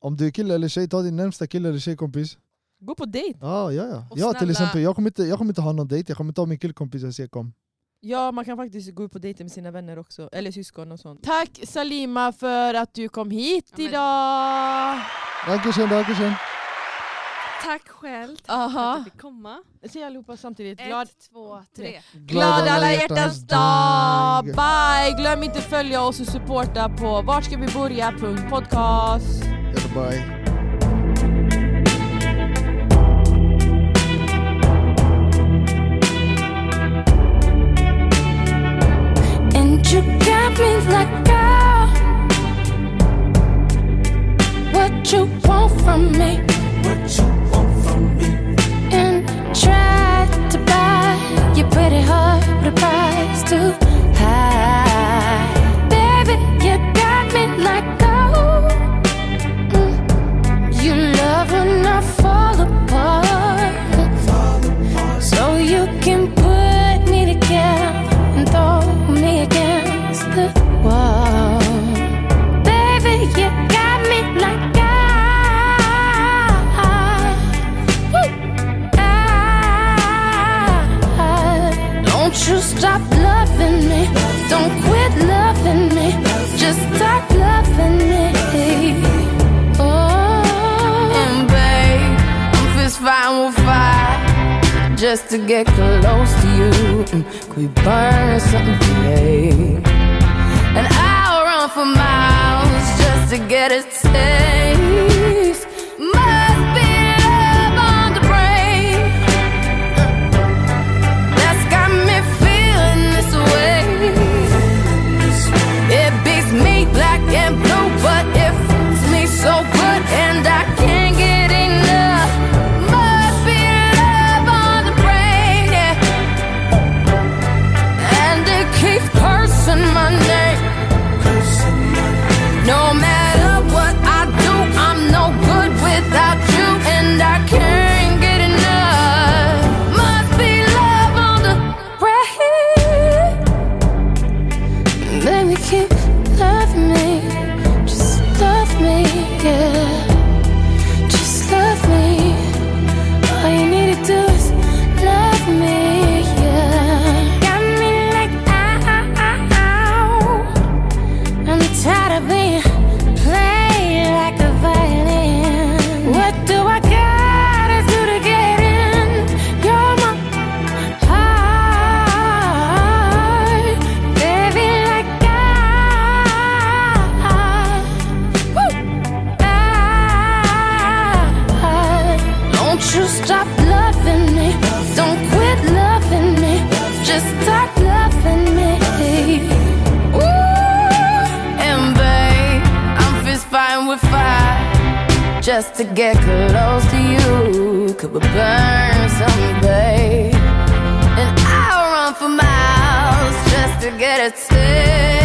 om du är kille eller tjej, ta din närmsta kille eller tjejkompis.
Gå på dejt.
Ah, ja, ja.
Och
ja till
snälla-
exempel, jag kommer, inte, jag kommer inte ha någon dejt, jag kommer ta min killkompis och säga kom.
Ja, man kan faktiskt gå ut på dejter med sina vänner också. Eller syskon och sånt. Tack Salima för att du kom hit
Ja, men-
idag!
Dankeschön, dankeschön.
Tack själv tack för att
Aha.
jag fick komma.
Säg allihopa samtidigt. Glad,
Ett, två, tre.
glad alla hjärtans dag! Bye! Glöm inte följa oss och supporta på vartskavibörja.podcast.
Göteborg.
And you got me like I What you want from me What you want from me And tried to buy your pretty heart But the price too high Baby, you got me like gold mm. You love when I fall apart so you can put me together and throw me against the wall. Baby, you got me like I. I- Don't you stop loving me. Don't quit loving me. Just start loving me. Oh. And babe, I'm fist fine with fire just to get close to you. Mm, Could we burn something today? And I'll run for miles just to get a taste. Must be love on the brain that's got me feeling this way. It beats me black and blue, but it fits me so good, and I can't get enough. Must be love on the brain, yeah. and it keeps cursing my name. No matter what I do, I'm no good without you, and I can't get enough. Must be love on the brain. Baby, keep loving me. Just love me, yeah. Just love me. All you need to do is love me, yeah. Got me like ah, ow. I'm tired of being played like a violin. What do I gotta do to get in? You're my heart, baby, like I. Woo! I- Don't you stop loving me. Don't quit loving me. Just start loving me. Ooh, and babe, I'm fist fighting with fire. Just to get close to you. Could we burn someday? And I'll run for miles just to get a taste.